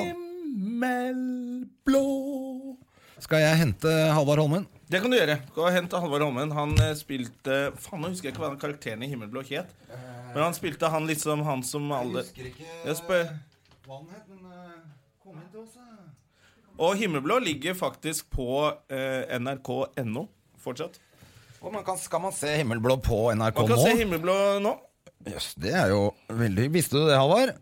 A: Himmelblå
B: Skal jeg hente Halvard Holmen?
A: Det kan du gjøre. Gå og hent Halvard Holmen. Han eh, spilte Faen, nå husker jeg ikke hva den karakteren i Himmelblå het. Men han spilte han liksom han som alle Jeg spør-
B: eh, hva han het, men eh, kom inn til oss, da.
A: Og Himmelblå ligger faktisk på eh, nrk.no fortsatt.
B: skal man se Himmelblå på NRK
A: Man kan
B: nå?
A: se Himmelblå nå.
B: Jøss, det er jo veldig Visste du det, Halvard?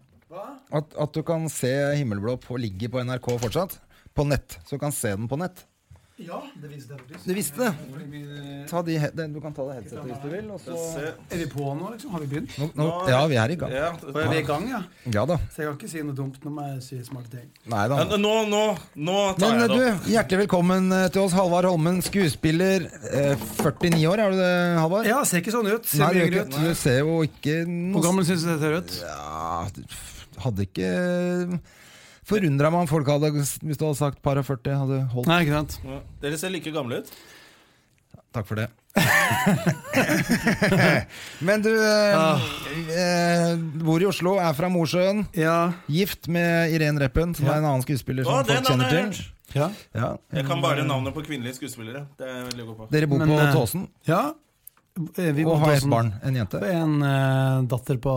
B: At, at du kan se Himmelblå på, ligge på NRK fortsatt? På nett. Så du kan se den på nett.
D: Ja, det visste jeg faktisk.
B: Du visste det? Ta de, he- den- du kan ta det headsetet hvis du vil. Og så...
A: Se.
D: Er vi på nå, liksom? Har vi begynt?
B: nå, nå, ja, vi er i gang.
A: Ja.
D: Er vi i gang, ja?
B: Ja da.
D: Så jeg kan ikke si noe dumt når jeg sier smarte ting.
B: Nei da.
A: Ja, Nå, nå, nå tar
B: Men eh,
A: jeg
B: du,
A: det opp.
B: hjertelig velkommen eh, til oss, Halvard Holmen, skuespiller. eh, 49 år, er du det, Halvard?
D: Ja, ser ikke sånn ut.
B: Nei,
D: Ser
B: du, gjør
D: yngre
B: ikke-
D: ut.
B: du ser jo ikke noe
D: Hvor gammel syns du dette ser ut?
B: ja, du- Hadde ikke Forundra meg om folk hadde Hvis du hadde sagt para 40, hadde holdt
D: Nei, ikke sant.
A: Ja. Dere ser like gamle ut.
B: Takk for det. Men du eh,
D: Ah.
B: eh, bor i Oslo, er fra Mosjøen.
D: Ja.
B: Gift med Irene Reppen, som er en annen skuespiller som
A: Å, det navnet
B: folk kjenner
A: har jeg
B: til.
A: hørt!
D: Ja.
B: Ja.
A: Jeg kan bare navnet på kvinnelige skuespillere. Det er jeg veldig god på.
B: Dere bor
D: Men,
B: på
D: eh,
B: Tåsen
D: ja. Eh, Vi
B: og
D: bodde
B: har
D: også
B: et barn, en jente.
D: på en eh, datter på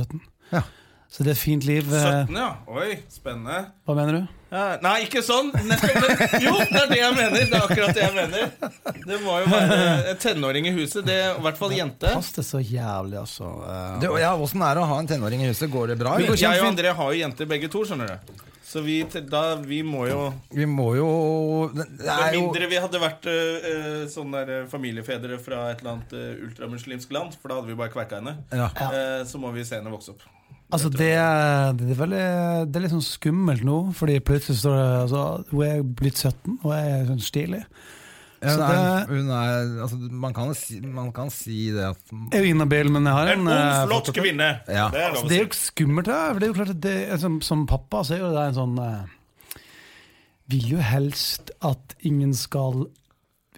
D: 17.
B: Ja.
D: Så det er et fint liv. eh,
A: 17, ja. Oi, spennende.
D: hva mener du?
A: Ja, nei, ikke sånn! Nettopp det. Jo, det er det jeg mener! Det er akkurat det jeg mener. Det må jo være en tenåring i huset. Det, I hvert fall jente.
D: Pass det så jævlig, altså. Eh,
B: Du, ja, Åssen er det å ha en tenåring i huset? Går det bra?
A: Jeg
B: eller?
A: og André har jo jenter begge to, skjønner du. Så vi, da, vi må jo
B: Vi må jo Det
A: Med
B: er jo
A: mindre vi hadde vært eh, eh, sånne der eh, familiefedre fra et eller annet eh, ultramuslimsk land, for da hadde vi bare kverka henne,
B: ja.
A: eh, så må vi se henne vokse opp.
D: Altså, det, er- det, er veldig, det er litt sånn skummelt nå, fordi plutselig står det altså, Hun er blitt 17, og jeg er sånn stilig.
B: Ja,
D: Så
B: hun er,
D: det-
B: hun er, altså, man, kan jo si, man kan si det at
D: Jeg er jo inhabil, men jeg har
A: En
D: en
A: ung,
D: eh,
A: flott
D: fotokropp.
A: kvinne!
B: Ja.
A: Det er
D: Altså,
A: lov å
D: det
A: si.
D: er jo ikke skummelt, det. For det er jo klart at det, som, som pappa så er jo det en sånn eh, Vil jo helst at ingen skal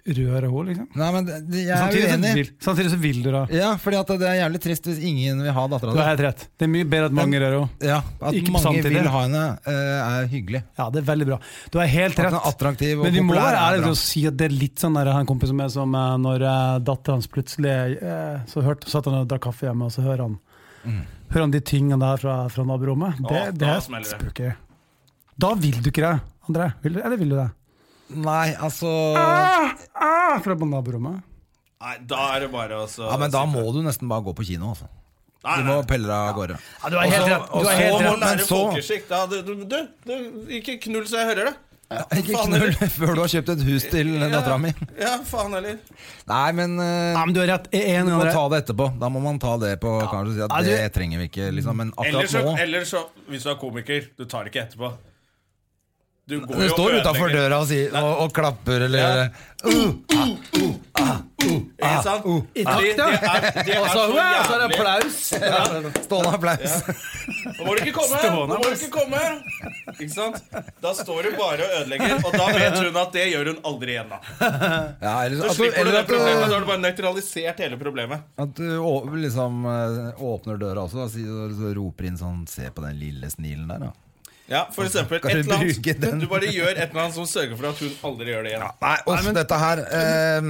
D: røre henne, liksom.
B: Nei, men det- det- jeg er
D: Samtidig så,
B: uenig.
D: vil, samtidig så vil du da.
B: Ja, fordi at det er jævlig trist hvis ingen vil ha dattera
D: Du
B: di.
D: har helt rett. Det er mye bedre at mange rører henne.
B: Ja, at
D: Ikke på
B: mange
D: samtidig.
B: vil ha henne, eh, er hyggelig.
D: Ja, det er veldig bra. Du har helt
B: At
D: rett.
B: hun er attraktiv og
D: Men vi må
B: populær.
D: være
B: er
D: ærlige
B: bra.
D: til å si at det er litt sånn der, jeg har en kompis som er som eh, når eh, datteren hans plutselig eh, Så hørte, satt han og drakk kaffe hjemme, og så hører han, hører han de tingene der fra, fra naborommet. Det,
A: Å,
D: det
A: da
D: er
A: smeller det.
D: spooky. Da vil du ikke det, André. Vil, du- eller vil du det?
B: Nei, altså
D: Ah, ah, fra på naborommet.
A: Nei, da er det bare å så-
B: ja, Men da må du nesten bare gå på kino. Altså.
A: Nei,
B: Du
A: nei.
B: må pelle deg av gårde.
D: du har helt rett.
B: Du har helt
A: så må
B: rett, men
A: lære
B: så-
A: folkeskikk. Da, du, du, du, du, ikke knull så jeg hører det.
B: Ikke
A: faen,
B: knull før du har kjøpt et hus til dattera mi.
A: Ja, faen heller.
B: Nei, men eh,
D: Ja, men du har rett. Jeg er
B: du
D: enig,
B: må
D: André.
B: ta det etterpå. Da må man ta det på kanskje og si at
D: Ja, du-
B: det trenger vi ikke, liksom. Men
A: Eller
B: akkurat
A: så,
B: nå
A: eller så, hvis du er komiker, du tar det ikke etterpå. Du går
B: Det
A: jo og
B: står utafor
A: ødelegger.
B: døra og, sier, og, og klapper eller Uh!
A: Ja.
B: Ah,
A: Ikke sant? De- de er- de er så jævlig.
B: applaus. Stående applaus.
A: Nå må du ikke komme! Nå må du ikke komme! Ikke sant? Da står du bare og ødelegger, og da vet hun at det gjør hun aldri igjen. da
B: Ja, eller,
A: Så
B: at du,
A: slipper du
B: Altså, eller
A: det
B: at
A: problemet, da
B: du,
A: har du bare nøytralisert hele problemet.
B: at du å- liksom eh, åpner døra også og sier- så roper inn sånn Se på den lille snilen der, da.
A: Ja, for eksempel et
B: Kan du
A: eller
B: bruke den?
A: annet Du bare gjør et eller annet som sørger for at hun aldri gjør det igjen.
B: Nei, uff, dette her eh,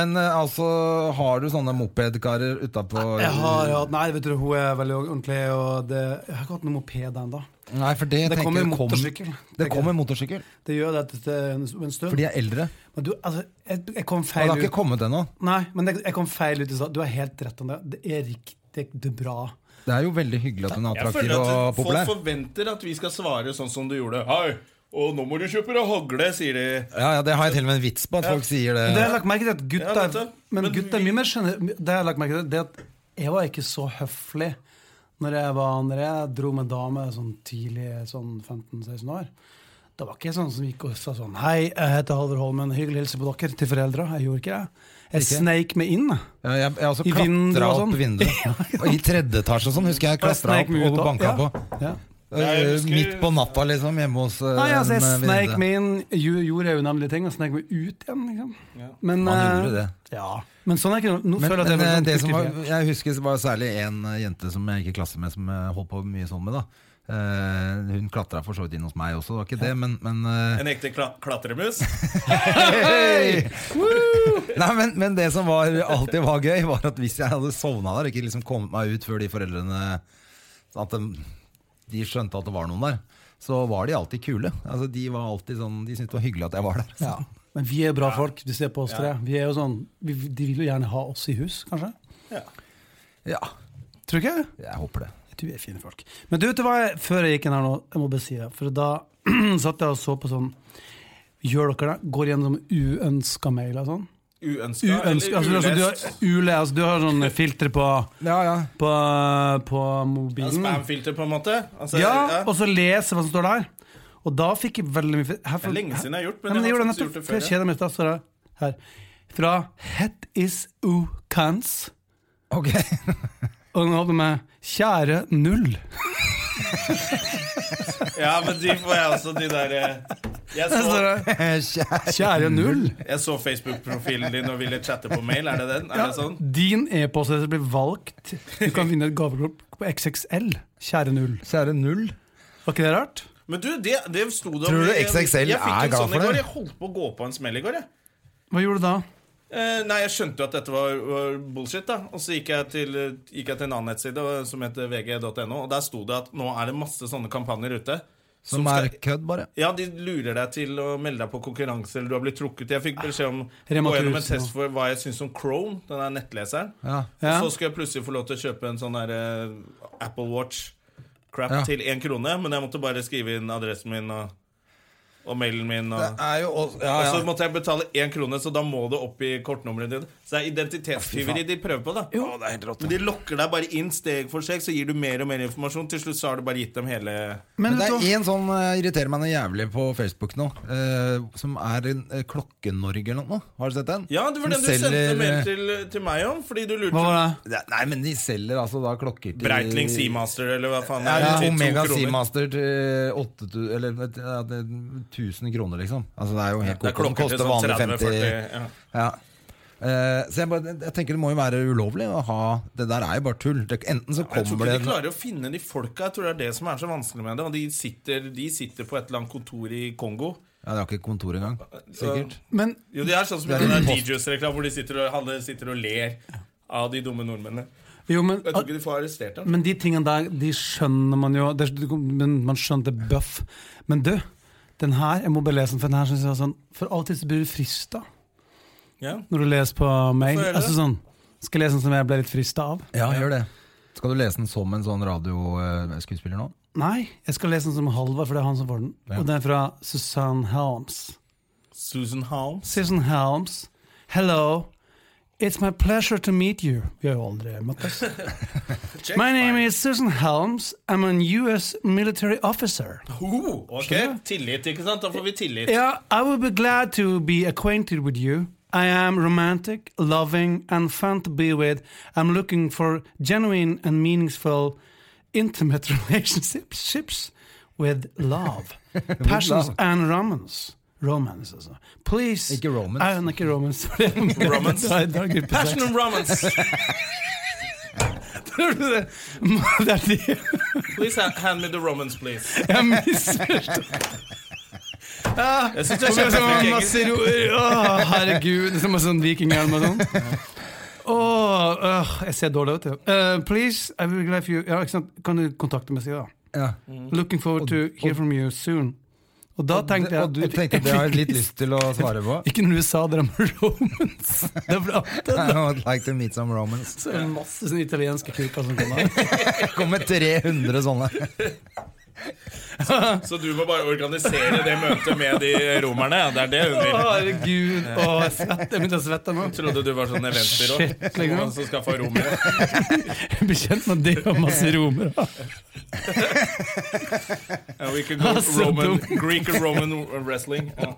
B: Men eh, altså, har du sånne mopedkarer utapå
D: Jeg har hatt Nei, vet du, hun er veldig ordentlig, og det, jeg har ikke hatt noen moped ennå.
B: Nei, for det,
D: Det
B: tenker
D: kommer
B: jeg kom-
D: motorsykkel.
B: Det kommer motorsykkel,
D: Det gjør det etter en en stund.
B: for de er eldre.
D: Men du, altså, jeg, jeg kom
B: Og det
D: feil
B: har ikke
D: ut.
B: kommet ennå.
D: Nei, men jeg, jeg kom feil ut i stad. Du har helt rett om det. Det er riktig det er bra.
B: Det er jo veldig hyggelig at hun er
A: Jeg føler
B: attraktiv
A: at
B: og
A: folk
B: populær.
A: forventer at vi skal svare sånn som du gjorde. Hei, og nå må du kjøpe deg hagle, sier de.
B: Ja, ja, Det har jeg til og med en vits på, at folk sier
D: Det har
B: det.
D: jeg lagt merke til at
A: Ja,
D: gutta
A: vet du.
D: Men
A: Men
D: gutta er mye mer skjønner Det har jeg lagt merke til Det at jeg var ikke så høflig når jeg var Når jeg dro med dame sånn tidlig, sånn 15-16 år. Da var ikke jeg sånn som gikk og sa sånn Hei, jeg heter Halvor Holmen. Hyggelig å hilse på dere til foreldra. Jeg gjorde ikke det. Jeg
B: Ikke?
D: sneik meg inn.
B: Ja, jeg, jeg har også
D: I vinduer
B: klatra
D: og
B: opp
D: sånn.
B: vinduet. Og I tredje etasje og sånn husker jeg
D: Og jeg
B: klatra
D: sneik
B: opp
D: meg ut
B: og
D: da.
B: banka
D: Ja.
B: på.
D: Ja.
A: Ja, jeg
B: Eh,
A: husker-
B: Midt på natta, liksom, hjemme hos eh,
D: Nei, altså, jeg
B: en
D: sneik
B: venninne.
D: meg inn, jo- gjorde jeg unemlige ting, og sneik meg ut igjen, liksom. Men,
B: Han
D: eh,
B: gjorde det.
D: Ja. Men sånn er ikke noe. Nå
B: Men,
D: føler jeg at
B: men
D: jeg
B: eh,
D: er
B: det som var,
D: veldig sånn
B: jeg husker det var særlig en eh, jente som jeg gikk i klasse med, som eh, holdt på mye sånn med. da Eh, Hun klatra for så vidt inn hos meg også, det var ikke det, men, men eh,
A: En ekte kla klatremus.
B: hei! Nei, men, men det som var, alltid var gøy, var at hvis jeg hadde sovna der, ikke liksom kommet meg ut før de foreldrene sånn At de, de skjønte at det var noen der, så var de alltid kule. Altså, de var alltid sånn, de syntes det var hyggelig at jeg var der.
D: ja. Men vi er bra folk, du ser på oss tre. Vi er jo sånn, vi, de vil jo gjerne ha oss i hus, kanskje?
B: Ja,
D: Tror du ikke?
B: jeg håper det.
D: Du er fine folk. Men du vet du hva, jeg- før jeg gikk inn her nå, jeg må bare si det, for da satt jeg og så på sånn Gjør dere det? Går gjennom uønska mailer og sånn?
A: Uønska
D: Uønska, altså,
A: eller
D: altså, du har,
A: ulest.
D: ule, altså, du har sånn filter på,
B: Ja, ja.
D: på, på mobilen.
A: Spamfilter, på en måte. Altså,
D: Ja, og så lese hva som står der. Og da fikk jeg veldig mye fe- her
A: Det er lenge siden jeg har gjort, men
D: Nei, men jeg
A: jeg har
D: gjorde det
A: faktisk
D: nettopp.
A: gjort det
D: for
A: før,
D: jeg
A: ja.
D: kjeder meg litt, da står det her. Fra Het is u kans.
B: Ok.
D: Og den åpner med Kjære null.
A: Ja, men de får jeg også, de der eh, Jeg
B: Så
A: så,
B: det- Kjære
D: Kjære null.
A: jeg så Facebook-profilen din og ville chatte på mail. Er det den? Er det sånn?
D: Din e-postadresse blir valgt. Du kan vinne et gavekort på XXL. Kjære null.
B: Kjære null.
D: Var ikke det rart?
A: Men du, det, det sto det om-
B: Tror du
A: jeg-
B: XXL
A: jeg fikk
B: er
A: en
B: glad
A: sånn i
B: for
A: går.
B: det?
A: Jeg holdt på å gå på en smell i går, jeg.
D: Hva gjorde du da?
A: Eh, nei, jeg skjønte jo at dette var, var bullshit, da. Og så gikk jeg til, gikk jeg til en annen nettside og- som heter vg.no, og der sto det at nå er det masse sånne kampanjer ute.
B: Som er kødd, bare.
A: Ja, de lurer deg til å melde deg på konkurranse, eller du har blitt trukket. Jeg fikk beskjed om
D: Rema
A: gå gjennom en
D: 1000
A: test for hva jeg syns om Chrome, den der nettleseren.
B: Ja.
D: Ja.
A: Og så skulle jeg plutselig få lov til å kjøpe en sånn der eh, Apple Watch-crap
B: Ja.
A: til én krone, men jeg måtte bare skrive inn adressen min og, og mailen min. Og,
B: Det er jo også, ja,
A: og
B: ja.
A: så måtte jeg betale én krone, så da må det opp i kortnummeret ditt. Så det er identitetstyveri de prøver på, da.
B: Å, det er helt rått.
A: Men de lokker deg bare inn steg for steg, så gir du mer og mer informasjon. Til slutt så har du bare gitt dem hele
D: Men,
B: Men det
D: vet du
B: er
D: hva?
B: én sånn eh, irriterer meg noe jævlig på Facebook nå, eh, som er en eh, Klokke-Norge eller noe. Har du sett den?
A: Ja, det var
B: Som
A: den du sendte
B: selger,
A: mail
B: eh,
A: til, til meg om, fordi du lurte
D: Hva var det?
B: Det- Nei, men de selger altså da klokker til
A: Breitling Seamaster, eller hva faen
B: Ja,
A: det
B: ja,
A: til to
B: Omega
A: kroner.
B: Seamaster til 8000 Eller ja, det er 1000 kroner, liksom. Altså, det er jo helt
A: Det er
B: koko. Den
A: klokker til
B: koster
A: sånn
B: vanlig
A: 30-40.
B: 50
A: Ja.
B: Ja. Eh, så jeg, bare, jeg tenker det må jo være ulovlig å ha Det der er jo bare tull. Det, enten så
A: Jeg tror
B: kommer
A: ikke
B: det
A: de klarer å finne de folka. Jeg tror det er det som er så vanskelig med det. Og de sitter, de sitter på et eller annet kontor i Kongo.
B: Ja, det har ikke kontor engang. Sikkert.
D: Men
A: Jo, de er sånn som i den der DJs-reklamen hvor de sitter og, alle sitter og ler av de dumme nordmennene.
D: Jo, men,
A: Jeg tror ikke de får arrestert dem.
D: men de tingene der, de skjønner man jo det, er- men Man skjønte bøff. Men du, den her, jeg må bare lese den, for den her synes jeg var sånn For av og til så blir du frista
A: Ja.
D: når du leser på mail.
A: Hvorfor gjør du
D: Altså sånn Skal jeg lese den som jeg ble litt frista av?
B: Ja, gjør det. Skal du lese den som en sånn radioskuespiller nå?
D: Nei, jeg skal lese den som Halvard, for det er han som får den.
B: Ja.
D: Og den er fra Susanne Helms.
A: Susan Holmes.
D: Susan Helms, hello. It's my pleasure to meet you. Vi har jo aldri møttes. My name is Susan Helms. I'm an US military officer.
A: Ho, ok, Tillit, ikke sant? Da får vi tillit.
D: Yeah, I would be glad to be acquainted with you. I am romantic, loving, and fun to be with. I'm looking for genuine and meaningful, intimate relationships with love, passions,
B: love.
D: and romance. Romance, altså. Please
B: Ikke romance.
D: Nei, ikke romance. romance. Det er- det er en gruppe sex.
A: Passion and romance.
D: Det er det
A: Please ha- hand me the romance, please.
D: jeg misforstår. Ah,
A: Jeg synes det er
D: Og så var det
A: kjempeflink engelsk.
D: masse ro Åh, herregud. Det er Som en sånn vikinghjelm og sånn. Åh, øh, jeg ser dårlig ut. ja. Eh, please, I will glad for you ja, ikke sant? Kan du kontakte meg, si da?
B: Ja.
D: Looking forward to hear from you soon. Og da tenkte jeg
B: Og du tenkte det har jeg litt lyst til å svare på?
D: Ikke når du sa det om romans. Det er bra. Det
B: I would like to meet some Romans.
D: er så masse sånne italienske kuker som kommer.
B: Det kommer 300 sånne.
A: Så du må bare organisere det møtet med de romerne. ja. Det er det hun
D: Å,
A: vil.
D: herregud. Åh, jeg svetter. Jeg begynte å svette nå.
A: Trodde du var sånn eventbyrå
D: Shit,
A: som-
D: liksom.
A: som skaffa romere.
D: Jeg blir kjent med det og masse romere.
A: Ja, we could go
D: så
A: Roman,
D: dum.
A: Greek and Roman wrestling. Ja.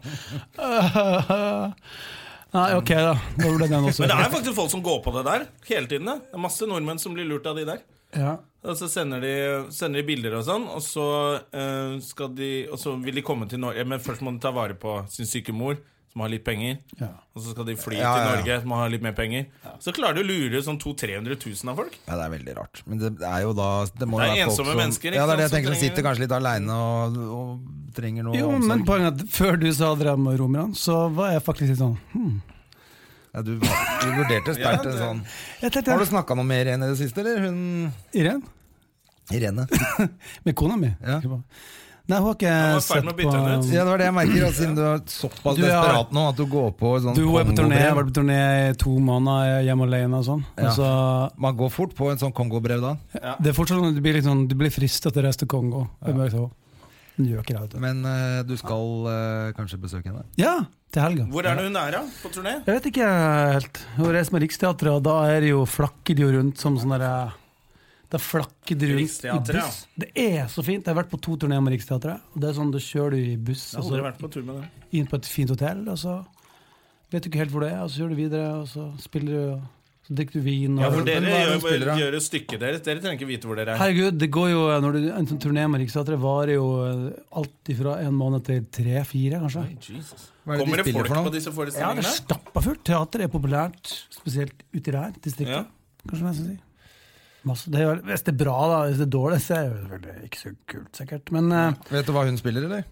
D: Nei, ok, da. Da ble den også.
A: Men det er faktisk folk som går på det der hele tiden. da. Det er masse nordmenn som blir lurt av de der.
D: ja.
A: Og så sender de, sender de bilder og sånn, og så, eh, skal de, og så vil de komme til Norge. Men først må de ta vare på sin syke mor, som har litt penger.
D: Ja.
A: Og så skal de fly
B: Ja,
A: til
B: ja, ja.
A: Norge, som har litt mer penger. Så klarer de å lure sånn 200 000-300 000 av folk.
B: Ja, Det er veldig rart. Men det er jo da Det, må jo
A: Det er
B: være folk
A: ensomme
B: som,
A: mennesker, ikke
B: Ja, det er
A: sant,
B: det jeg
A: som
B: tenker som
A: trenger-
B: sitter kanskje litt aleine og, og trenger noe
D: Jo, men
B: omsorg.
D: poenget er at før du sa det om romerne, så var jeg faktisk litt sånn hmm.
B: Ja, du, du vurderte sterkt en sånn
D: Jeg tenkte,
B: Har du snakka noe med Irene i det siste, eller? Hun
D: Irene?
B: Irene.
D: Med kona mi?
B: Ja.
D: Nei, hun har ikke
A: var i ferd
D: sett
A: med å
D: på
A: bytte henne ut.
B: Ja, det var det jeg merker, at siden du er såpass
D: Du, jeg har-
B: desperat nå at du går på sånn
D: Du hun er på turné, jeg har
B: Kongo-brev.
D: vært på turné i to måneder jeg er hjemme alene og sånn.
B: Ja.
D: Og så-
B: Man går fort på en sånn Kongo-brev da.
D: det er fortsatt sånn at du blir, litt sånn, du blir fristet til å reise til Kongo. Jeg bare så, Hun gjør ikke det. vet du.
B: Men eh, du skal eh, kanskje besøke henne?
D: Ja, til helga.
A: Hvor er det hun er, da? På turné?
D: Jeg vet ikke helt. Hun reiser med Riksteatret, og da er det jo flakker de jo rundt som sånn derre Da flakker de rundt i
A: Riksteatret, ja.
D: buss. Det er så fint. Jeg har vært på to turneer med Riksteatret. Og det er sånn, Da kjører du i buss
A: Jeg har
D: og
A: aldri
D: så
A: vært på tur med det.
D: inn på et fint hotell, og så vet du ikke helt hvor det er, og så kjører du videre, og så spiller du og Så drikker du vin og
A: Ja, for
B: men
A: dere
B: hva er det
A: gjør,
B: de spiller, da?
A: gjør jo stykket deres. Dere trenger ikke vite hvor dere er.
D: Herregud, det går jo når du, En sånn turné med Riksteatret varer jo eh, alt ifra en måned til tre-fire, kanskje.
A: Jesus.
B: Hva er det de
A: Kommer det
B: spiller
A: folk
B: for noe?
A: på disse
D: Ja, det er
A: forestillingene?
D: stappa fullt. Teater er populært, spesielt uti der, distriktet.
A: Ja.
D: Kanskje man skal si. Masse, det er, hvis det er bra, da, hvis det er dårlig, så er det jo selvfølgelig ikke så kult, sikkert. Men eh,
B: Vet du hva hun spiller, eller?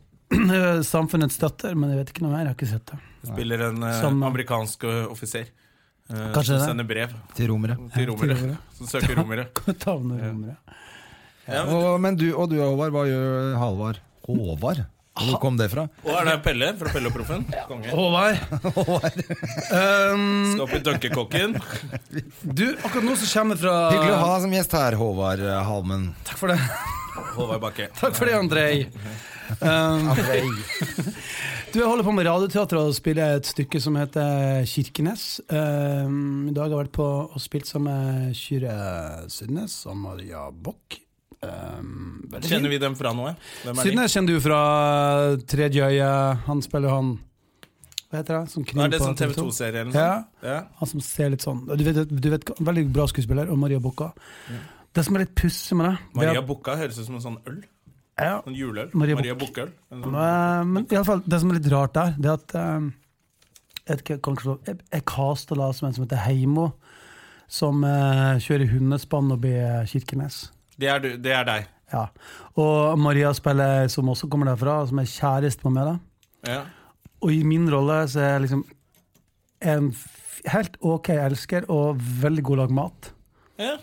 D: Samfunnets støtter, men jeg vet ikke noe mer. Jeg har ikke sett det.
A: Spiller en eh,
D: Som-
A: amerikansk eh, offiser eh, som
D: Kanskje det.
A: sender brev
B: Til romere.
A: til romere.
D: romere.
A: Som søker romere.
D: Tavner romere.
A: Ja, men,
B: Og, men du, og du, Håvard, hva gjør eh, Halvard? Håvard? Hvor kom det fra?
A: og er det Pelle fra Pelle og Proffen? Konge.
D: Håvard. Um,
A: Skal opp i dunkekokken.
D: Du, akkurat nå så kommer jeg fra
B: Hyggelig å ha deg som gjest her, Håvard eh, Halmen.
D: Takk for det,
A: Håvard Bakke.
D: Takk for det, Andrej. Um, du, jeg holder på med Radioteatret og spiller et stykke som heter Kirkenes. Um, I dag har jeg vært på og spilt sammen med Kyrre Sydnes og Maria Bock. Um,
A: Kjenner vi dem fra noe? Hvem er de?
D: Sydnes kjenner du fra Tredje øye. Han spiller jo han Hva heter det? Som kniv
A: Nå er det
D: på
A: sånn
D: TV2.
A: TV2-serie eller noe?
D: Ja.
A: Ja.
D: Han som ser litt sånn Du vet, du vet Veldig bra skuespiller, og Maria Bocca. Det som er litt pussig med det, det er
A: Maria
D: at-
A: Bukka høres ut som en sånn øl.
D: ja,
A: Sånn juleøl.
D: Maria
A: Maria, Bukka-øl. En sånn-
D: eh, Men i alle fall, det som er litt rart der, det er at eh, Jeg vet ikke, jeg kan ikke slå Jeg, jeg casta da som en som heter Heimo, som eh, kjører hundespann og blir Kirkenes.
A: Det, er du, det er deg.
D: Ja. Og Maria spiller, som også kommer derfra, som er kjæreste med meg. da
A: Ja.
D: Og i min rolle så er jeg liksom en f- helt OK elsker og veldig god lag mat.
A: ja.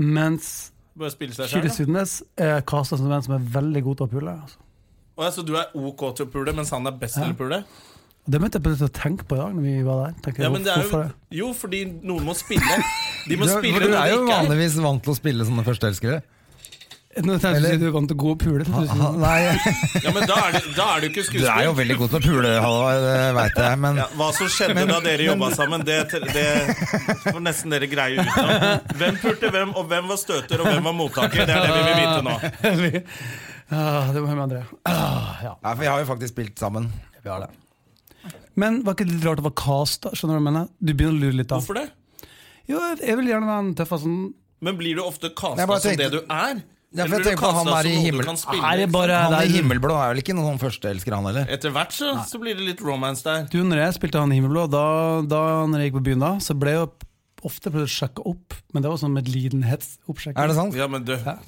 D: Mens
A: Bare spille seg
D: Kyrre
A: sjøl.
D: Sydnes er kasta som en som er veldig god til å pule. Altså.
A: Så du er OK til å pule, mens han er best til å pule?
D: Og Det begynte jeg plutselig å tenke på i dag. Når vi var der Tenkte jeg,
A: Ja, men det er jo,
D: hvorfor det?
A: jo, fordi noen må spille. De må
B: Du,
A: spille
B: for du
A: når
B: er
A: de
B: jo
A: ikke er.
B: vanligvis vant til å spille sånne førsteelskere.
D: Nå tenkte jeg
B: Eller-
D: at du kom til å gå og pule. tenkte jeg.
B: Nei,
A: Ja, men da er du, da er du ikke
B: du er jo
A: skuespiller.
B: veldig god til å pule, Halvard, det veit jeg, men
A: Ja, hva som skjedde da dere jobba sammen, det, det får nesten dere greie ut av. Hvem pulte hvem, og hvem var støter, og hvem var mottaker? Det er det vi vil vite nå.
D: Ah, det var med André. Ah, ja,
B: Nei, for vi har jo faktisk spilt sammen.
D: vi har det. Men var ikke det litt rart å være casta? Skjønner du hva jeg mener? Du begynner å lure litt da.
A: Hvorfor det?
D: Jo, jeg vil gjerne være den tøffe sånn.
A: Men blir du ofte
B: Jeg
A: kasta
B: bare
A: som
B: tenkte-
A: det du er?
B: Ja,
A: Eller
B: for jeg
A: blir
B: tenker
A: du
B: på han
A: kasta
B: der i
A: som noe du
B: himmelen.
A: kan
D: Er
A: spille?
D: det bare
B: Han i
D: der,
B: Himmelblå er vel ikke noen sånn førsteelsker, han heller?
A: Etter hvert så, så blir det litt romance der.
D: Du, når jeg spilte han i Himmelblå, da, da når jeg gikk på byen da, så ble jeg jo ofte prøvd å sjekke opp, men det var sånn medlidenhetsoppsjekking.
B: Er det sant?
A: Ja, men du
D: Ja.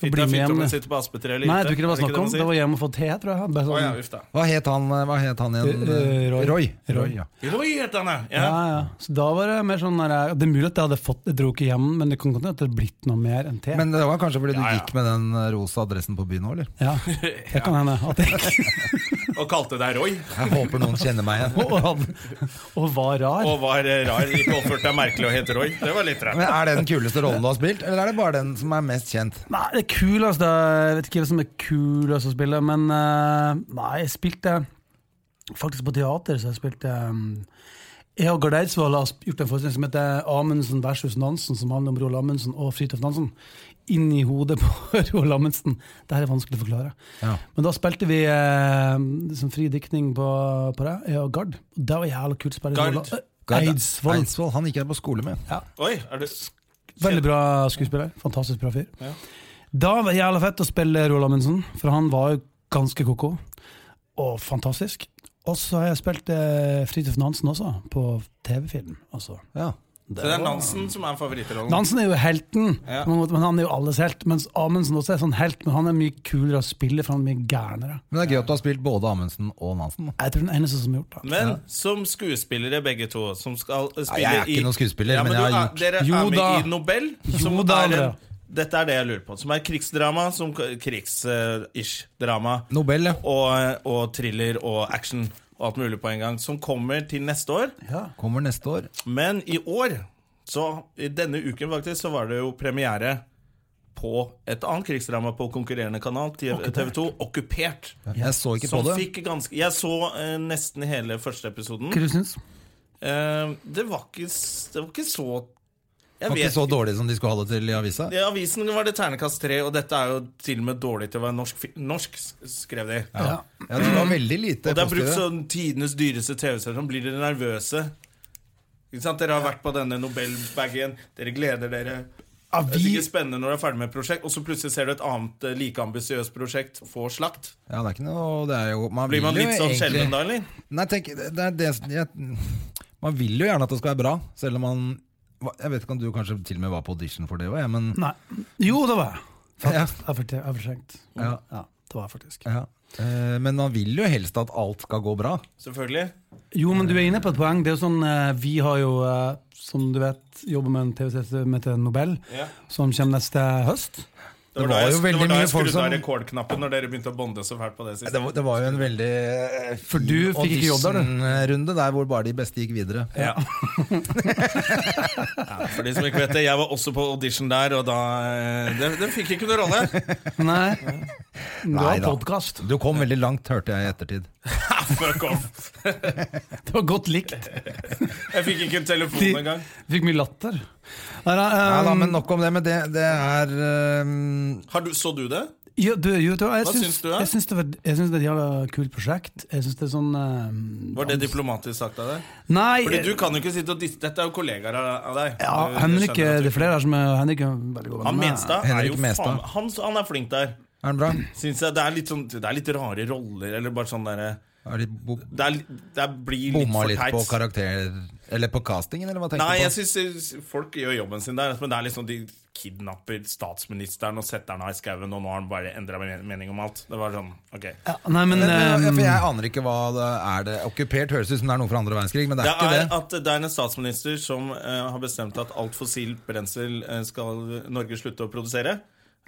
A: Fint
D: Bli
A: det
D: med
A: er fint om
D: hjem, du.
A: en sitter på aspetreet eller
D: Nei,
A: ikke.
D: jeg tror ikke det var
A: Er
D: snakk om. Det
A: man sier?
D: var hjem og få te, tror jeg. Bare sånn,
A: Å ja, uff da.
B: Hva het han, hva het han igjen?
D: Eh, Roy.
B: Roy.
D: Roy,
B: ja.
A: Roy het han, ja.
D: Ja,
A: ja.
D: ja. Så da var det mer sånn der, Det er mulig at jeg hadde fått Jeg dro ikke hjem, men det kan godt hende at det hadde blitt noe mer enn te.
B: Men det var kanskje fordi du
A: Ja, ja.
B: gikk med den eh, rosa dressen på byen òg, eller?
D: ja, det kan hende. At jeg ikke
A: Og kalte deg Roy.
B: Jeg håper noen kjenner meg igjen.
D: og, hadde- og var rar.
A: Og var eh, rar. Ikke oppførte deg merkelig og het Roy. Det var litt rart.
B: Men Er det den kuleste rollen du har spilt, eller er det bare den som er mest kjent?
D: Nei, det kuleste Jeg vet ikke hva som er kulest å spille, men eh, Nei, jeg spilte faktisk på teater, så jeg spilte eh, jeg og Gard Eidsvoll har sp- gjort en forestilling som heter Amundsen versus Nansen, som handler om Roald Amundsen og Fridtjof Nansen. Inni hodet på Roald Amundsen. Dette er vanskelig å forklare.
B: Ja.
D: Men da spilte vi eh, liksom fri diktning på, på det, jeg og Gard. Og Det var jævla kult. Spille.
A: Gard?
D: Roald- eh, Eidsvoll.
B: Eidsvoll, Han gikk jeg på skole med.
A: Oi, er du
D: Veldig bra skuespiller. Fantastisk bra fyr.
A: Ja.
D: Da var det jævla fett å spille Roald Amundsen, for han var jo ganske ko-ko. Og fantastisk. Og så har jeg spilt eh, Fridtjof Nansen også, på TV-film. Altså.
B: Ja.
A: Så det er Nansen som er favorittrollen?
D: Nansen er jo helten,
A: Ja.
D: på en måte, men han er jo alles helt. Mens Amundsen også er sånn helt, men han er mye kulere å spille, for han er mye gærnere.
B: Men det er gøy at du har spilt både Amundsen og Nansen. da.
D: Jeg tror den eneste som har gjort det.
A: Men som skuespillere, begge to, som skal eh, spille
B: jeg er ikke
A: i-
B: noen skuespiller, men
A: du
B: jeg har
A: er-
B: gjort-
A: Dere
D: Jo
A: er med
D: da.
A: i Nobel, som
D: Jo da,
A: er en,
D: Andrea.
A: Dette er det jeg lurer på. Som er krigsdrama, som krigs-ish-drama.
B: Nobel, ja.
A: og, og thriller og action og alt mulig på en gang, som kommer til neste år.
B: Kommer neste år.
A: Men i år, så i denne uken faktisk, så var det jo premiere på et annet krigsdrama på konkurrerende kanal, TV 2, Okkupert.
B: Jeg så ikke på
A: Som
B: det.
A: fikk ganske Jeg så eh, nesten hele første episoden.
D: Hva du syns
A: Eh, det, var ikke, s- det var ikke så Jeg
B: Det var
A: vet
B: ikke så dårlig som de skulle ha det til i avisa.
A: I avisen var det ternekast tre, og dette er jo til og med dårlig til å være norsk, fi- norsk s- skrev de.
B: Ja. ja, Det var veldig lite
A: Og det er brukt
B: positive.
A: sånn tidenes dyreste TV-serie. Sånn blir dere nervøse? Ikke sant? Dere har vært på denne Nobelbagen, dere gleder dere.
D: Ja,
A: Det er
D: vi,
A: sikkert spennende når du er ferdig med et prosjekt, og så plutselig ser du et annet eh, like ambisiøst prosjekt få slakt.
B: Ja, det er ikke noe det er jo, man
A: Blir man
B: vil
A: litt
B: jo
A: sånn
B: egentlig-
A: skjelven da, eller?
B: Nei, tenk, det er det som- jeg, Man vil jo gjerne at det skal være bra, selv om man Jeg vet ikke om du kanskje til og med var på audition for det òg, men
D: nei. Jo, det var jeg.
B: Ja.
D: Faktisk. Jeg forte- Jeg fortrengt.
B: Ja.
D: ja, det var jeg faktisk.
B: ja. Eh, Men man vil jo helst at alt skal gå bra.
A: Selvfølgelig.
D: Jo, men du er inne på et poeng. Det er jo sånn, eh, Vi har jo, eh, som du vet, jobber med en TV-serie som heter Nobel,
A: Ja.
D: som kommer neste høst.
B: Det
A: da
B: var
A: jeg,
B: jo veldig
A: det var da
B: mye
A: jeg
B: folk
A: skrudde
B: som-
A: av rekordknappen når dere begynte å bonde så fælt på det siste.
B: Det var, det var jo en veldig eh,
D: For
B: fin
D: du fikk ikke jobb der, du.
B: auditionrunde der hvor bare de beste gikk videre.
A: Ja. For de som ikke vet det, jeg var også på audition der, og da eh, Det, det fikk ikke noen rolle.
D: Nei, du har
B: Neida.
D: podkast.
B: Du kom veldig langt, hørte jeg i ettertid.
A: Ah, Fuck off!
D: Det var godt likt.
A: Eh, Jeg fikk ikke en
D: De-
A: telefon engang.
D: Fikk mye latter. Nei, da,
B: Nei
D: eh,
B: da, men nok om det. Men det, det er eh,
A: Har du, så du det?
D: jo, du, jo, du, jeg
A: Hva
D: syns,
A: syns du, da?
D: Jeg syns det, var- jeg syns det er et jævla kult prosjekt. Jeg syns det er sånn eh,
A: Var det diplomatisk sagt av deg?
D: Nei,
A: Fordi du
D: eh,
A: kan jo ikke sitte og disse Dette er jo kollegaer av av deg.
D: ja,
A: Du- du
D: Henrik
A: skjønner at
D: eh,
A: du-
D: det er flere her som er Henrik er en veldig god venn
A: Han
D: med meg.
A: Menstad er
B: Henrik
A: jo
B: Menstad.
A: faen han, han er flink der.
B: Er den bra?
A: Syns jeg det er litt sånn Det er litt rare roller, eller bare sånn derre
B: Er de bo
A: Det, er, det blir litt
B: bomma
A: for
B: litt på
A: teit.
B: karakter... Eller på castingen, eller hva tenker
A: Nei,
B: du
A: jeg
B: på?
A: syns folk gjør jobben sin der. Men det er liksom de kidnapper statsministeren og setter han av i skauen, og nå har han bare endra mening om alt. Det var sånn, ok
D: Ja, nei, men,
B: Men, mm.
D: eh,
B: for jeg aner ikke hva det er det Okkupert høres ut som det er noe fra andre verdenskrig, men det
A: Det
B: er ikke
A: er
B: det.
A: at det er en statsminister som eh, har bestemt at alt fossilt brensel eh, skal Norge slutte å produsere.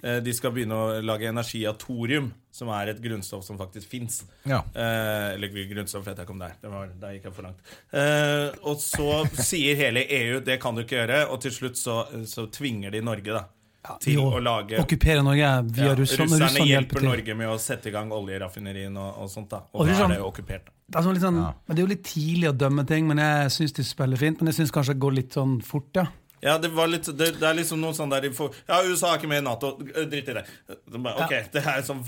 A: Eh, de skal begynne å lage energi av thorium, som er et grunnstoff som faktisk fins.
B: Ja.
A: Eh, eller grunnstoff vet jeg ikke om det er. Det var, der gikk jeg for langt. Eh, og så sier hele EU det kan du ikke gjøre, og til slutt så, så tvinger de Norge da, til
D: jo,
A: å lage
D: Okkupere Norge
A: Ja,
D: via Russland. og
A: Russerne
D: Russland
A: hjelper
D: til.
A: Norge med å sette i gang oljeraffinerien og, og sånt. da Og,
D: Og
A: da
D: Russland-
A: er det jo okkupert. da.
D: Det er, sånn litt sånn,
B: Ja.
D: men det er jo litt tidlig å dømme ting, men jeg syns de spiller fint. Men jeg syns kanskje det går litt sånn fort, ja.
A: Ja, det, var litt, det, det er liksom noe sånn der de får- Ja, USA er ikke med i Nato. øh, Dritt i det. Det er bare, Ok, Det er sånn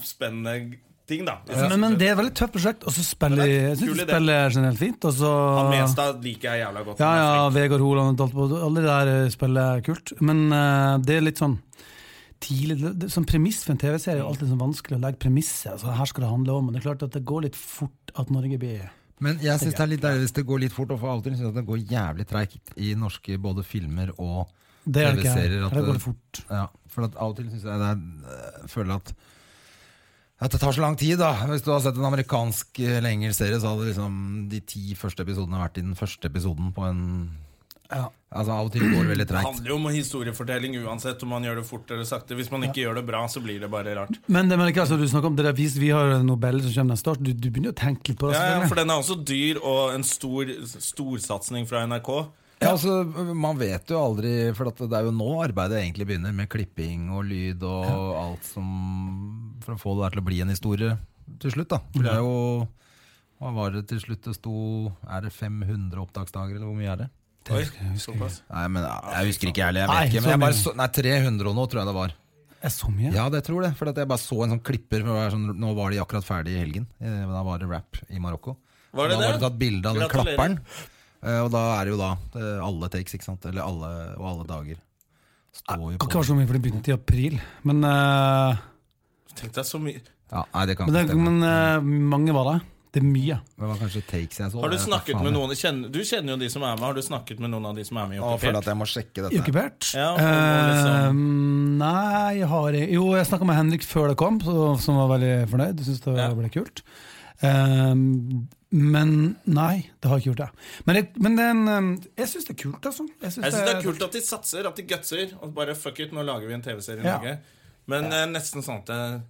A: verdenomspennende ting, da. Jeg synes-
D: Men, men det er et veldig tøft prosjekt, og så spiller
A: Men
D: de
A: det er
D: Jeg
A: kul
D: syns de
A: idé.
D: spiller generelt fint. Og så
A: Han Menstad liker jeg jævla godt.
D: Ja,
A: Han er
D: ja,
A: flink.
D: Vegard Holand og Daltbo, alle de der eh, spiller kult. Men eh, det er litt sånn tidlig det- det- Som premiss for en TV-serie er det alltid sånn vanskelig å legge premisset. Altså, her skal det handle om, men det er klart at det går litt fort at Norge blir
B: Men jeg syns det er litt deilig hvis det går litt fort, og for av og til syns jeg at det går jævlig treigt i norske både filmer og
D: Det er det ikke her.
B: TV-serier, at
D: Her går
B: det-
D: det fort.
B: ja, For at av og til syns jeg det er, øh, føler at at det tar så lang tid, da. Hvis du har sett en amerikansk øh, eller engelsk serie, så hadde liksom de ti første episodene vært i den første episoden på en
D: Ja.
B: Altså Av og til går det
A: Det
B: veldig treigt.
A: handler jo om historiefortelling uansett om man gjør det fort eller sakte. Hvis man ikke gjør det bra, så blir det bare rart.
D: Men det, men det, altså, du snakker om det der vi, vi har Nobel som kommer neste år, så du, du begynner å tenke litt på det.
A: Ja, ja,
D: selvfølgelig.
A: For den er også dyr og en stor storsatsing fra NRK.
B: Ja, altså, Man vet jo aldri, for at det er jo nå arbeidet egentlig begynner, med klipping og lyd og alt som For å få det der til å bli en historie til slutt, da. For det er jo Hva var det til slutt det sto Er det 500 opptaksdager, eller hvor mye er det?
A: Oi, såpass.
B: Nei, men jeg, jeg husker ikke ærlig, jeg
D: Nei,
B: vet ikke.
D: så
B: Men jeg bare
D: mye.
B: så, nei, 300 og noe, tror jeg det var.
D: Er så mye?
B: Ja, det tror jeg. For at jeg bare så en sånn klipper. For det var sånn, nå var de akkurat ferdig i helgen. Eh, Da var det rap i Marokko.
A: Var det
B: da var
A: det?
B: det tatt bilde av den
A: Gratulerer.
B: klapperen. Eh, Og da er det jo da eh, alle takes, ikke sant? Eller alle, og alle dager. Står jo
D: Kan ikke
B: på.
D: være så mye, for det begynte i april. Men, eh,
A: Tenk deg så mye
B: Ja, nei, det kan
D: men,
B: ikke
D: det,
B: stemme.
D: men eh, mange var det. Det er mye.
B: Det var kanskje takes jeg så.
A: Har du
B: Jeg vet
A: snakket
B: faen,
A: med
B: jeg-
A: noen kjenner, Du kjenner jo de som er med. Har du snakket med noen av de som er med i
B: Å, Jeg føler at
A: Okkupert?
B: jeg må sjekke dette. her.
D: Okkupert?
A: Ja, og- og liksom-
D: Eh, nei, jeg har jeg Jo, jeg snakka med Henrik før det kom, så, som var veldig fornøyd. Syns det
A: Ja.
D: ble kult. Eh, men nei, det har jeg ikke gjort det. Men, jeg- men den, eh, jeg syns det er kult, altså. Jeg syns
A: Jeg syns det er kult at de satser, at de gutser. Og bare fuck it, nå lager vi en TV-serie i
D: Ja.
A: Norge. Men eh, nesten sånn at jeg,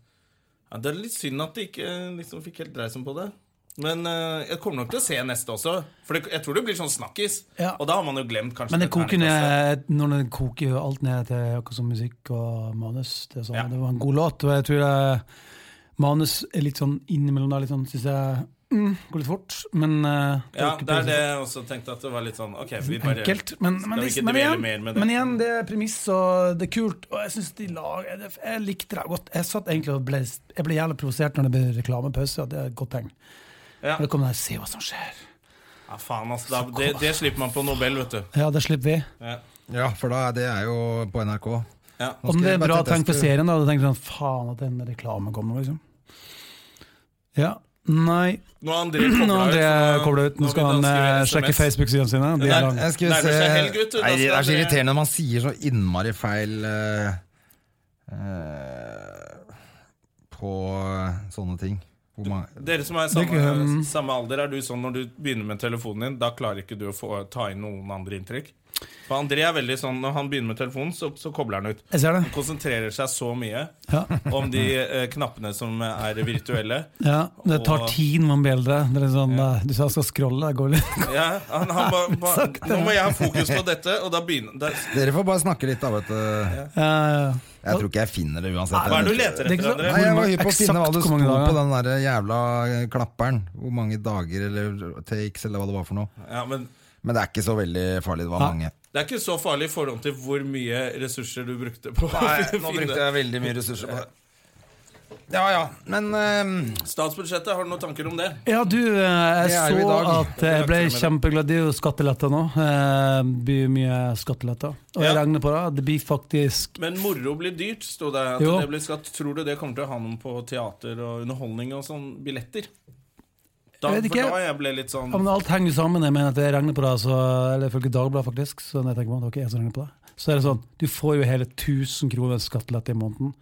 A: ja, Det er litt synd at de ikke eh, liksom fikk helt dreisen på det. Men eh, jeg kommer nok til å se neste også. For det, jeg tror det blir sånn snakkis.
D: Ja.
A: Og da har man jo glemt kanskje
D: Men det
A: det
D: koker
A: terningkastet.
D: ned, når det koker jo alt ned til akkurat som musikk og manus. Det, er sånn,
A: Ja.
D: det var en god låt, og jeg tror jeg, manus er litt sånn innimellom der, litt sånn, syns jeg mm, går litt fort. Men eh,
A: Ja,
D: ikke
A: det er
D: så
A: det jeg også tenkte at det var litt sånn Ok, vi bare
D: Enkelt. Men,
A: Skal
D: men,
A: vi
D: det-
A: ikke
D: men,
A: dvele
D: igjen,
A: mer med det?
D: men igjen, det er premiss, og det er kult. Og jeg synes de lag, jeg, jeg likte det godt. Jeg satt egentlig og ble, jeg ble jævlig provosert når det ble reklamepause, og det er et godt tegn.
A: Ja.
D: For det kom der 'se hva som skjer'.
A: Ja, faen, altså. Da, det, det slipper man på Nobel, vet du.
D: Ja, det slipper vi.
A: Ja.
B: Ja, for da, er- det er jo på NRK.
A: Ja.
B: Nå
D: Om
B: skal
D: det
B: jeg
D: er
B: bare
D: bra
B: teste-
D: tegn for serien, da hadde jeg tenkt sånn Faen at den reklamen kom nå, liksom. Ja. Nei.
A: Nå har André
D: Nå
A: koblet
D: har André
A: så nå-
D: koblet ut. Nå skal han eh,
A: skrive
D: sjekke
A: SMS.
D: Facebook-sidene sine. De er lang.
B: Jeg skulle
A: Nærmer
B: se
A: seg helg, vet du, da
B: Nei, Det
A: skal
B: er så
A: dere-
B: irriterende når man sier så innmari feil eh, eh, på eh, sånne ting. Hvor mange
A: Dere som er
D: Det
A: samme,
D: er ikke-
A: samme alder, er du sånn når du begynner med telefonen din, da klarer ikke du å få, ta inn noen andre inntrykk? For André er veldig sånn, når han begynner med telefonen, så, så kobler han ut.
D: Jeg ser det.
A: Han konsentrerer seg så mye
D: Ja.
A: om de eh, knappene som er virtuelle.
D: ja. Det tar
A: Og-
D: tid når man blir eldre. Det er litt sånn, eh, Du sa jeg skal scrolle, det går litt
A: Ja, han, han ba, ba, nå må jeg ha fokus på dette, og da begynner da,
B: Dere får bare snakke litt, da, vet du.
D: Ja, ja,
B: Jeg tror ikke jeg finner det uansett.
A: Hva er det du leter
D: Det er
A: etter,
D: ikke så-
A: André?
B: Nei, jeg var hypp på å
D: Eksakt
B: finne hva det
D: hvor
B: sto
D: mange dager?
B: på den der jævla eh, klapperen. Hvor mange dager eller takes eller hva det var for noe.
A: Ja, men
B: Men det er ikke så veldig farlig. Det var
D: Ja.
B: mange.
A: det er ikke så farlig i forhold til hvor mye ressurser du brukte på å
B: nå brukte
A: finne
B: jeg veldig mye ressurser på det. Ja ja, men eh,
A: Statsbudsjettet, har du noen tanker om det?
D: Ja, du, eh,
B: Det
D: jeg
B: er jo i
D: så
B: dag.
D: at eh, jeg ble kjempeglad. Det er jo skatteletter nå. Eh, Det blir mye skatteletter. Og jeg
A: Ja.
D: regner på det. Det blir faktisk
A: Men moro blir dyrt, sto det. At
D: Jo.
A: det blir skatt. Tror du det kommer til å ha noen på teater og underholdning og sånn? Billetter? Da,
D: Jeg vet ikke.
A: For da jeg ble litt sånn
D: ja, men Alt henger jo sammen. Jeg mener at jeg regner på det, så, eller ifølge Dagbladet, faktisk. Så når jeg tenker på det, det var ikke jeg som regner på det. Så er det sånn, du får jo hele 1000 kroner skattelette i måneden.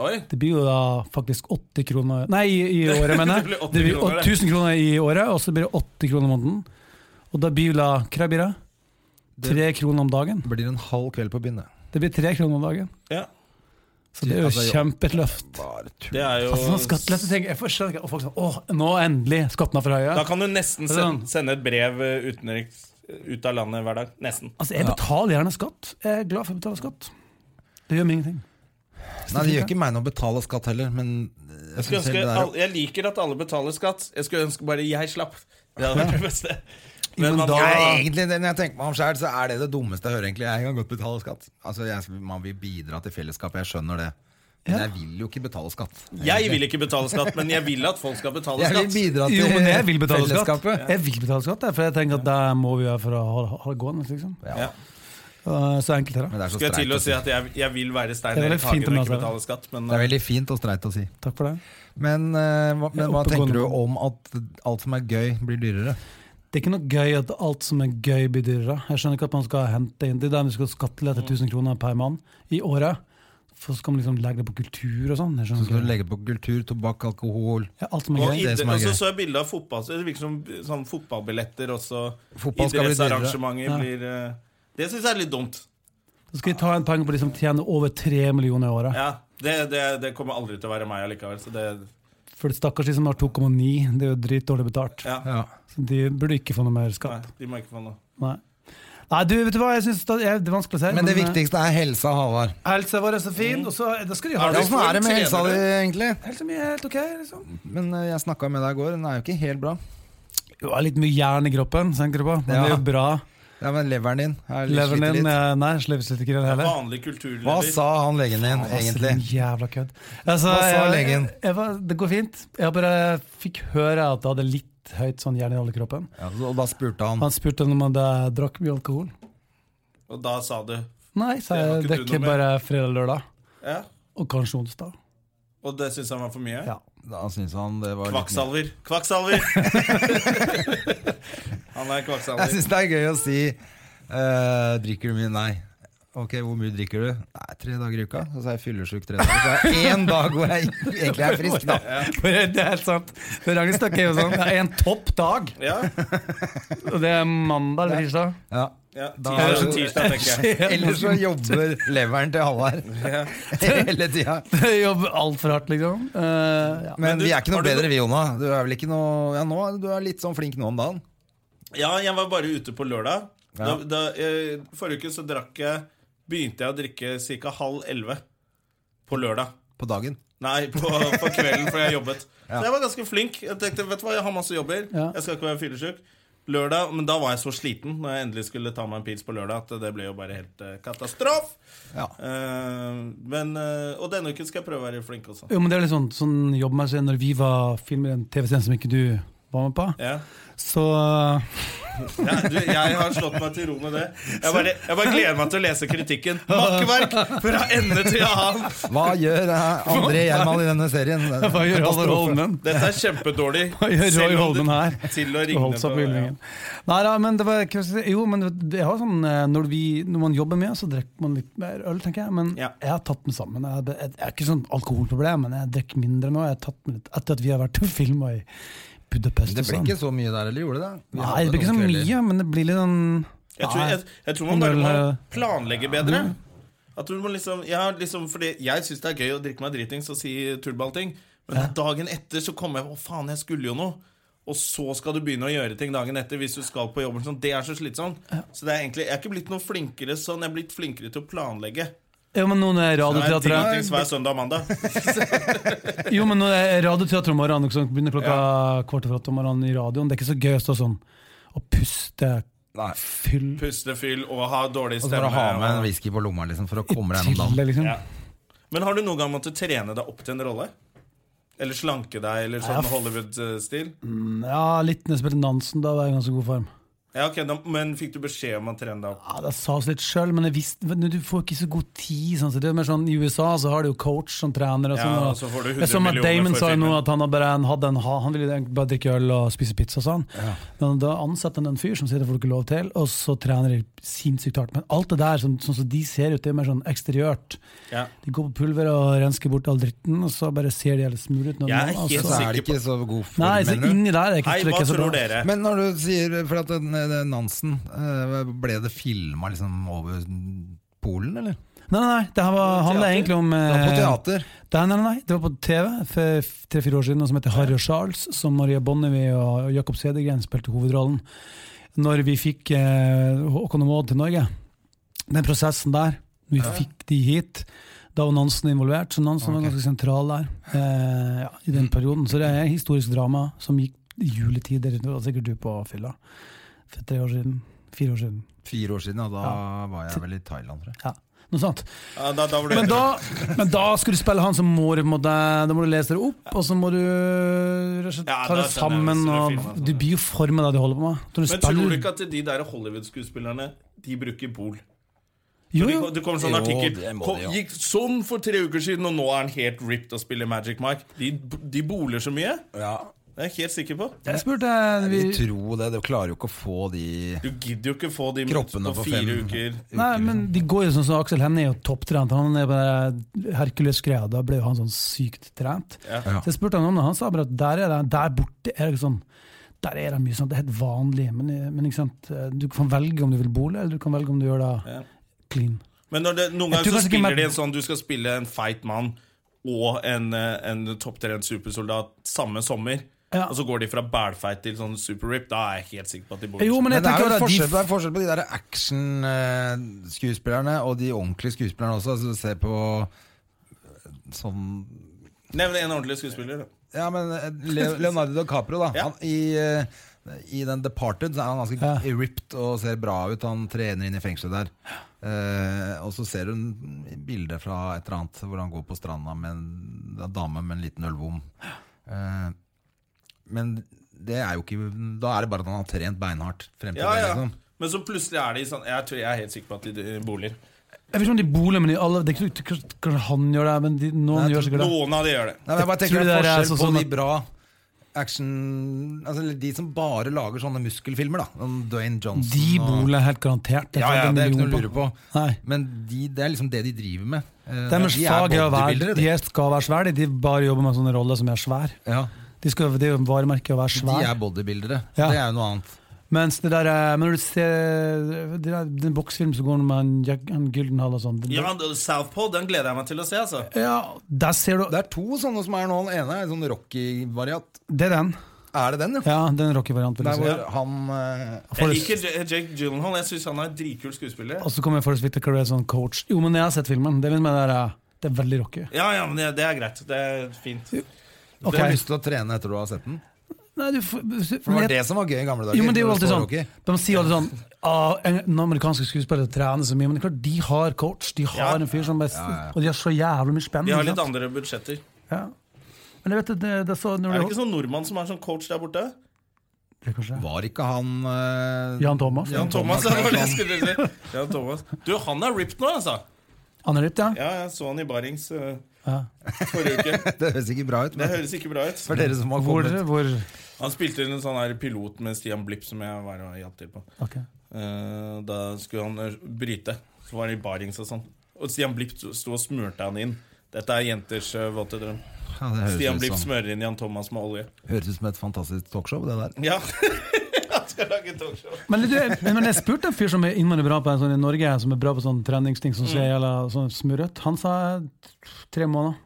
A: Oi!
D: Det blir jo da faktisk 80 kroner Nei, i, i året, mener
A: Det
D: jeg.
A: blir 80
D: Det blir
A: kroner, det.
D: 1000 kroner i året, og så blir det 80 kroner i måneden. Og da blir jo da Hva blir det? Tre kroner om dagen.
B: det blir en halv kveld på byen, det.
D: Det blir tre kroner om dagen.
A: Ja,
D: Så det er jo
B: Altså, jo.
D: kjempeløft.
B: Bare tull.
A: det er jo
D: Altså, sånn skattelette ting, jeg forstår ikke, og folk sånn, åh, nå endelig, skatten er for høye.
A: Da kan du nesten
D: Det er
A: sende,
D: sånn.
A: sende et brev eh, utenriks eh, ut av landet hver dag. Nesten.
D: Altså, jeg betaler gjerne skatt. Jeg er glad for å betale skatt. Det gjør meg ingenting.
B: Nei, det gjør ikke meg noe å betale skatt heller, men eh, jeg,
A: Skulle
B: synes
A: ønske,
B: heller det er
A: al- jeg liker at alle betaler skatt. Jeg skulle ønske bare jeg slapp. Det hadde vært det beste.
D: men
A: man-
D: da-
B: Nei, egentlig, det- når jeg tenker meg om selv, så er det det dummeste jeg hører. egentlig Jeg kan godt betale skatt. Altså, jeg, Man vil bidra til fellesskapet, jeg skjønner det. Men jeg vil jo ikke betale skatt.
A: jeg vil ikke betale skatt, men jeg vil at folk skal betale
B: Jeg vil
A: skatt.
B: bidra til
D: Jo, men jeg vil betale skatt.
B: fellesskapet.
D: Jeg vil betale skatt, jeg, for jeg tenker at det må vi gjøre for å ha, ha det gående, liksom.
B: Ja.
D: Uh, Så enkelt er det.
B: Men det er så
A: Skulle jeg til å
B: streit å
A: si
B: si.
A: at jeg, jeg vil være Stein
D: Det er veldig
A: Erik Hagen
D: fint om
A: og
D: jeg
A: ikke
D: sa det.
A: betale skatt, men
B: Det er veldig fint og streit å si.
D: Takk for det.
B: Men, eh, hva, men hva
D: Oppegående.
B: tenker du om at alt som er gøy, blir dyrere?
D: Det er ikke noe gøy at alt som er gøy blir dyrere. Jeg skjønner ikke at man skal hente inn til dem du skal skattelette 1000 kroner per mann i året. For så skal man liksom legge det på kultur og sånn. Jeg
B: Så
D: skjønner
B: skal du
D: ikke.
B: legge på kultur, tobakk, alkohol,
D: Ja, alt som er
A: Og
D: gøy.
B: det
A: idre-
B: som er
A: og så
B: gøy.
A: så jeg bilde av fotball. Så det virker som sånn fotballbilletter også.
B: Fotball skal bli
A: Idrettsarrangementer
D: dyrere.
A: blir eh, Det syns jeg er litt dumt.
D: Så skal vi ta en penger på de som tjener over 3 millioner i året.
A: Ja, det, det, det kommer aldri til å være meg allikevel. Så det,
D: For det stakkars de som har 2,9, det er jo dritdårlig betalt.
A: ja,
B: Ja.
D: Så de burde ikke få noe mer
A: nei,
D: skatt.
A: de må ikke få noe.
D: Nei. Nei, du, vet du hva, jeg synes det er det er vanskelig å si.
B: Men det
D: eh,
B: viktigste er helsa, Halvard.
D: Helsa vår er så fin, og så da skal de ha
A: Er
D: det.
A: det-
B: Åssen er det med helsa di, egentlig?
D: Helsa mi er helt ok, liksom.
B: Men eh, jeg snakka med deg i går, den er jo ikke helt bra.
D: Jo, det er litt mye jern i kroppen, tenker du på. Men det er
B: Ja.
D: jo bra.
B: Ja, men leveren din er litt
D: Leveren
B: sliter
D: din
B: litt.
D: eh, Nei, slipper slipper ikke den heller.
A: Vanlig kulturleder.
B: Hva sa han legen din, egentlig?
D: Din jævla kødd. Altså,
B: Hva sa
D: jeg-
B: legen?
D: Jeg var, det går fint. Jeg bare fikk høre at jeg hadde litt høyt sånn jerninnhold i kroppen.
B: Ja, så- og da spurte han
D: Han spurte om jeg hadde drakk mye alkohol.
A: Og da sa du
D: Nei, sa
A: Det har
D: jeg.
A: ikke du noe
D: Drikker
A: med.
D: bare fredag-lørdag.
A: Ja.
D: Og kanskje onsdag.
A: Og det syns han var for mye?
D: Ja.
B: Da syntes han det var litt mye.
A: Kvakksalver. Kvakksalver! han er
B: Jeg
A: kvakksalver.
B: syns det er gøy å si eh, Drikker du mye? Nei. Ok, hvor mye drikker du? Nei, Tre dager i uka. Og så er jeg fyllesyk tre dager. Så er det én dag hvor jeg egentlig er frisk, da.
D: For det er helt sant. For Ragnhild snakker jo sånn. Det er en topp dag,
A: Ja,
D: og det er mandag eller tirsdag.
B: Ja.
A: ja.
B: Da-
A: Tirsdag, tirsdag, tenker jeg.
B: Ellers så jobber leveren til Halvard hele tida.
D: Jeg jobber altfor hardt, liksom. Eh, ja.
B: Men
A: du-
B: vi er ikke
A: har
B: noe
A: du
B: bedre, vi, Jonna. Du er vel ikke noe Ja, nå er du er litt sånn flink nå om dagen.
A: Ja, jeg var bare ute på lørdag. Da,
B: Ja.
A: da, eh, forrige uke så drakk jeg Begynte jeg å drikke ca. halv elleve på lørdag.
B: På dagen.
A: Nei, på, på kvelden, for jeg jobbet.
B: Ja.
A: Så jeg var ganske flink. Jeg tenkte, vet du hva, jeg har masse jobber.
D: Ja.
A: Jeg skal ikke være fyllesyk. Lørdag, Men da var jeg så sliten når jeg endelig skulle ta meg en pils på lørdag, at det ble jo bare helt eh, katastrof.
B: Ja.
A: Eh, men, eh, og denne uken skal jeg prøve å være flink også.
D: Jo, men det er litt sånn, sånn jobbmessig Når vi var filmer en TV-scene som ikke du var med på,
A: Ja.
D: så
A: Ja, du, jeg har slått meg til ro med det. Jeg bare, jeg bare gleder meg til å lese kritikken. Makkverk fra ende til annen!
B: Hva gjør eh, André Gjerman i denne serien?
D: Hva gjør Halvor Holmen?
A: Dette er kjempedårlig.
D: Hva gjør Roy
A: selv om det-
D: Holmen her?
A: Til å
D: Og
A: ringe
D: holdt seg
A: på-
D: på hyllingen. Nei da, men det var Jo, men det har sånn eh, Når, vi, når man jobber mye, så drikker man litt mer øl, tenker jeg. Men
A: Ja.
D: jeg har tatt meg sammen. Jeg, jeg, jeg er ikke sånn alkoholproblem, men jeg drikker mindre nå. Jeg har tatt meg litt Etter at vi har vært og filma i Budapest
B: Det
D: og
B: ble
D: sånn.
B: ikke så mye der, eller gjorde det? Vi
D: Nei,
B: hadde
D: det blir ikke så
B: noen kvelder.
D: mye, men det blir litt sånn
A: Jeg tror,
D: Nei. Mm.
A: jeg, jeg tror man bare må planlegge bedre. At du må liksom, jeg har liksom fordi jeg syns det er gøy å drikke meg dritings og si tullballting, men dagen etter så kommer jeg på Å, faen, jeg skulle jo noe. Og så skal du begynne å gjøre ting dagen etter hvis du skal på jobben. Sånn, det er så slitsomt. Så det er egentlig, jeg er ikke blitt noe flinkere sånn. Jeg er blitt flinkere til å planlegge.
D: Jo, men noen
A: Det er ting,
D: radioteatre
A: ting som er søndag og mandag.
D: Jo, men når det er radioteater om morgenen, ikke sant, begynner klokka kvart over åtte om morgenen i radioen. Det er ikke så gøy å stå sånn og puste
B: Nei.
D: fyll
A: Puste fyll og ha dårlig
B: Og så
A: stemme.
B: bare ha med en whisky på lomma liksom, for å komme deg gjennom dagen.
D: til, liksom.
A: Ja. Men har du noen gang måttet trene deg opp til en rolle? Eller slanke deg, eller
D: Ja,
A: sånn
D: f-
A: Hollywood-stil?
D: Ja, litt når jeg spilte Nansen, da var jeg i ganske god form.
A: Ja, ok, da, Men fikk du beskjed om å trene deg opp?
D: Ja, Det sa oss litt sjøl, men jeg visste, men du får ikke så god tid. Sånn, så det er mer sånn, I USA så har de jo coach som trener. Og
A: Ja,
D: sånn,
A: og så får du 100
D: jeg så at
A: millioner
D: Damon
A: for
D: sa jo nå
A: filmen.
D: at han, hadde bare, en- hadde en, ha- han ville egentlig bare drikke øl og spise pizza. og Sånn. Men da ansetter han en fyr som sier det får du ikke lov til, og så trener de sinnssykt hardt. Men alt det der, sånn sånn som de ser ut, det er mer sånn eksteriørt.
A: Ja.
D: De går på pulver og rensker bort all dritten, og så bare ser de helt smule ut. når
A: Jeg er
D: de- og
A: helt
B: Så
D: så,
A: sikker.
B: er det ikke så god form,
D: nei, så
B: mener du?
D: inni der er det ikke,
A: Hei,
D: ikke
A: hva
D: så bra.
A: tror dere?
B: Men når du sier For at den, den Nansen eh, Ble det filma liksom over Polen, eller?
D: Nei, nei, nei, det her var, handler
A: Teater?
D: egentlig om
B: Det var på
D: eh,
B: teater.
D: Nei, nei, nei, det var på TV for f- tre-fire år siden, noe som heter Harry og Charles, som Maria Bonnevie og Jakob Cedergren spilte hovedrollen. Når vi fikk eh, Håkon og Maud til Norge, den prosessen der, vi fikk de hit, da var Nansen involvert, så Nansen var
B: Ok.
D: ganske sentral der eh, ja, i den perioden. Så det er historisk drama som gikk i juletider, det var sikkert du på fylla, for tre år siden, fire år siden,
B: Fire år siden, og da var jeg vel i Thailand, tror jeg.
D: ja, noe sånt.
A: Ja, da, da ble
D: Men
A: det
D: da, men da skal du spille han som må du, på en måte, Da må du lese det opp, og så må du rett og slett
A: Ja,
D: ta
A: da
D: det
A: skjønner jeg
D: sammen.
A: hvis du filmer
D: Og,
A: og sånn,
D: du
A: ja.
D: blir jo formen av det du holder på med. Når du
A: Men
D: spiller-
A: tror du ikke at de der Hollywood-skuespillerne De bruker Bol?
D: Jo,
A: Det
D: jo.
A: det kommer sånn
B: Jo,
A: artikkel
B: det må
A: "Kom-
B: de, ja."
A: Gikk sånn for tre uker siden, og nå er han helt ripped og spiller Magic Mike. De, de boler så mye. Det er jeg helt sikker på.
D: Jeg spurte eh, vi,
B: Vi tror det. Du klarer jo ikke å få de
A: Du gidder jo ikke få de
B: Kroppene
A: på
B: for
A: fire
B: fem.
A: uker.
D: Nei,
A: liksom.
D: men de går jo sånn som Aksel Hennie er jo topptrent. Han er på det der Hercules-greia. Da ble jo han sånn sykt trent.
B: Ja.
D: Så jeg spurte han om det. Han sa bare at der, er det, der borte er det ikke sånn der er det mye sånn, det er helt vanlig, men, eh, men ikke sant? du kan velge om du vil bole, eller du kan velge om du gjør det
A: Ja.
D: clean.
A: Men når det, noen
D: Jeg
A: ganger så
D: tror kanskje ikke
A: spiller
D: Mad-
A: de en sånn Du skal spille en feit mann og en, eh, en topptrent supersoldat samme sommer.
D: Ja.
A: Og så går de fra bælfeit til sånn superrip. Da er jeg helt sikker på at de boler.
D: Jo,
A: så
D: men
B: Men
D: jeg
B: det er
D: tenker
B: jo
D: at
B: en
D: de-
B: forskjell, det er en forskjell på de der action-skuespillerne og de ordentlige skuespillerne også. Altså, du ser på sånn
A: mye. Nevn en ordentlig skuespiller. da.
B: Ja, men eh, Le- Leonardo DiCaprio, da.
A: Ja.
B: Han, i, eh, I den Departed så er han ganske
D: Ja.
B: ripped og ser bra ut. Han trener inn i fengselet der. Eh, og så ser hun bilder fra et eller annet hvor han går på stranda med en en dame med en liten ølvom. Eh, men det er jo ikke Da er det bare at han har trent beinhardt frem til
A: Ja,
B: det.
A: ja.
B: liksom
A: Men så plutselig er de sånn Jeg tror jeg er helt sikker på at de eh, boler.
D: Jeg vet ikke om de boler, men de alle, det er ikke kanskje, kanskje han gjør det, men de, noen
B: Nei, jeg
D: gjør sikkert det.
A: Noen av de gjør det.
B: Nei, men jeg bare tenker
D: Tror du
B: det er altså
D: det er
B: forskjell
D: sånn
B: på
D: som
B: de
D: at-
B: bra action Altså eller de som bare lager sånne muskelfilmer, da. Sånn Dwayne Johnson
D: De
B: og-
D: boler helt garantert.
B: Ja,
D: tror
B: ja,
D: jeg
B: det er ikke
D: en
B: noe å
D: million
B: lure på.
D: Nei.
B: Men de, det er liksom det de driver med. Eh,
D: Deres
B: de er
D: fag er å være
B: bodybuildere, de.
D: De skal være svære, de. De bare jobber med sånne roller som er svær.
B: Ja,
D: De skal, det er jo varemerket å være
B: de er
D: svær.
B: bodybuildere.
D: Ja.
B: Det er jo noe annet.
D: Mens det der, eh, men når du ser det der, den boksfilmen som går med han, Jack- han Gyldenhall og sånn det-
A: Ja, det- Southpaw, den gleder jeg meg til å se, altså.
D: ja, der ser du
B: Det er to sånne som er nå. Den ene er en sånn Rocky-variant.
D: Det er den.
B: Er det den, ja?
D: Ja, den Rocky-varianten. vil
B: Der
D: jeg si.
B: hvor han eh,
A: Jeg
D: Forrest-
A: liker J- Jake Gyllenhaal. Jeg syns han er en dritkul skuespiller.
D: Og så kommer Forrest Victor Carrera som sånn coach. Jo, men jeg har sett filmen. Det er, det der, eh, det er veldig Rocky.
A: Ja, ja, men det, det er greit. Det er fint.
B: Du har
D: Ok.
B: lyst til å trene etter du har sett den?
D: Nei, du,
B: For
D: får-
B: det
D: men
B: var det som var gøy i gamle dager.
D: Jo, men det er jo
B: når det
D: alltid
B: står
D: sånn
B: Rocky.
D: De sier alltid sånn ah, en- Den amerikanske skuespilleren trener så mye, men det er klart, de har coach. De har
A: Ja.
D: en fyr som bare Og de har så jævlig
A: De
D: mye spennende.
A: har
D: ikke
A: litt
D: sant?
A: andre budsjetter.
D: ja. Men jeg vet det, det, det er så, når
A: Er det
D: du,
A: ikke sånn nordmann som er sånn coach der borte?
D: det kanskje?
B: Var ikke han eh,
D: Jan Thomas?
A: Jan Thomas, ja, det var det jeg skulle si. Jan Thomas. Du, han er ripped nå, altså.
D: Han er ripped, ja?
A: Ja, jeg så han i Barings eh,
D: ja.
A: forrige uke.
B: Det høres ikke bra ut,
A: Det
B: men
A: høres ikke bra ut.
B: for dere som har
D: Hvor,
B: kommet
D: hvor
A: Han spilte en sånn her pilot med Stian Blipp, som jeg var og hjalp til på.
D: Ok.
A: Eh, da skulle han eh, bryte. Så var det i Barings og sånn. Og Stian Blipp sto og smurte han inn. Dette er jenters eh, våte drøm.
B: ja, det
A: Stian
B: høres,
A: Blipp
B: ut som,
A: smører inn Jan Thomas med olje.
B: høres ut som et fantastisk talkshow, det der.
A: Ja, han skal lage talkshow.
D: Men, du, men jeg spurte en fyr som er innmari bra på en sånn i Norge, som er bra på sånn treningsting
A: Mm.
D: som ser jævla sånn smurrete. Han sa tre måneder.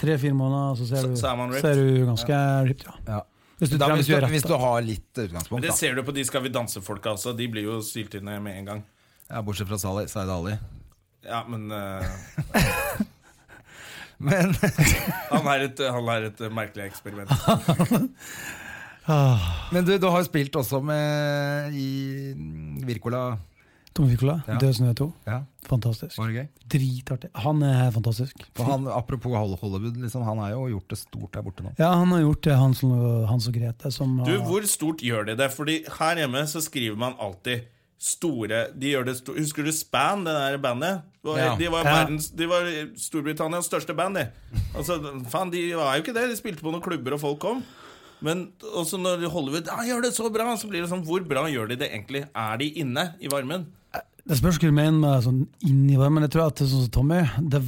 D: Tre-fire måneder, så ser
A: Så-
D: du,
A: så er man ripped.
D: ser du ganske ripped, ja. Hvis du,
B: Da,
D: trener-
B: hvis, du,
D: er rett,
B: hvis
D: da.
B: du har litt
A: Men
B: utgangspunkt,
A: det
B: da.
A: ser du på de Skal vi danse-folka også. De blir jo syltynne med en gang.
B: Ja, bortsett fra Sali- Zaid Ali.
A: Ja, men eh,
B: Men
A: han, er et, han er et eh, merkelig eksperiment.
B: Men du, du har jo spilt også med i Virkola.
D: Tom Wirkola,
B: Ja.
D: Død snø 2.
B: Ja,
D: Fantastisk.
B: var det gøy?
D: Dritartig. Han er fantastisk.
B: For han, apropos Hol- Hollywood, liksom, han har jo gjort det stort der borte nå.
D: Ja, han har gjort det, Hans, og- Hans og Grete. Som, eh,
A: Du,
D: har-
A: hvor stort gjør de det? Fordi her hjemme så skriver man alltid store De gjør det sto Husker du Span, det der bandet? Det Var,
B: Ja.
A: De var
D: Ja.
A: verdens De var Storbritannias største band, de. Altså, faen, de var jo ikke det. De spilte på noen klubber, og folk kom. Men også når Hollywood ja, gjør det så bra, så blir det sånn Hvor bra gjør de det egentlig? Er de inne i varmen?
D: Det spørs hva du mener med sånn inni varmen. Jeg tror at det er sånn som Tommy, det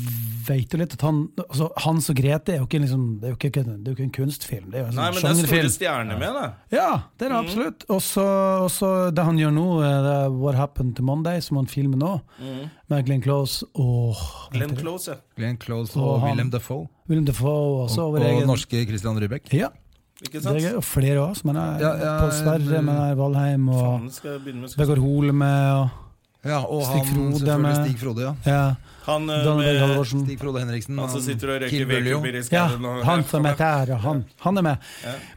D: vet du litt at han altså, Hans og Grete er jo ikke, liksom, det er jo ikke, det er jo ikke en kunstfilm, det er jo en
A: Nei, men
D: sånn
A: det er Mhm. store
D: sjangerfilm.
A: stjerner med, da.
D: Ja, det er det absolutt. Og så og så det han gjør nå, er det What Happened to Monday, som han filmer nå,
A: Mhm.
D: med Glenn Close og
A: Glenn Close, ja.
B: Glenn Close
D: Og
B: og,
D: han-
B: William Defoe.
D: Willem Defoe og så
B: Og,
D: vår egen
B: norske Christian Rybek.
D: Ja,
A: Ikke
D: det
A: sant?
D: er gøy. Og flere òg, som han er
B: Ja, ja,
D: Pål Sverre,
B: men-
D: men er Valheim, og
A: Faen, skal jeg begynne med
D: Vegard Hole med, og
B: Ja, og
D: Stig
B: han
D: Frode
B: selvfølgelig
D: med-
B: Stig Frode, ja.
D: ja,
A: Han eh,
D: Dan Børge
A: med
D: Halvorsen.
B: Stig Frode Henriksen.
A: han som sitter og røyker
B: Kill Bill, jo.
A: vedkubber i
D: Ja,
A: skauen og-
D: han som er der, og han, han er med.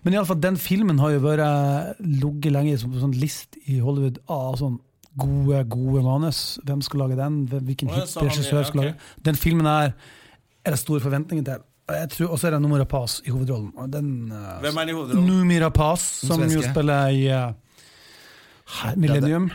D: Men i alle fall, den filmen har jo vært eh, ligget lenge som på sånn list i Hollywood av sånn gode gode manus. Hvem skal lage den? Hvem- Hvilken
A: Å, ja,
D: hit
A: så han-
D: regissør skal
A: ja,
D: lage
A: ok.
D: Den filmen her er det store forventninger til. Og jeg tror- Og så er det Noomi Rapaz i hovedrollen. Og den, eh,
A: Hvem er det i hovedrollen?
D: Noomi Rapaz, som jo
B: svenske.
D: spiller i eh, her, Millennium.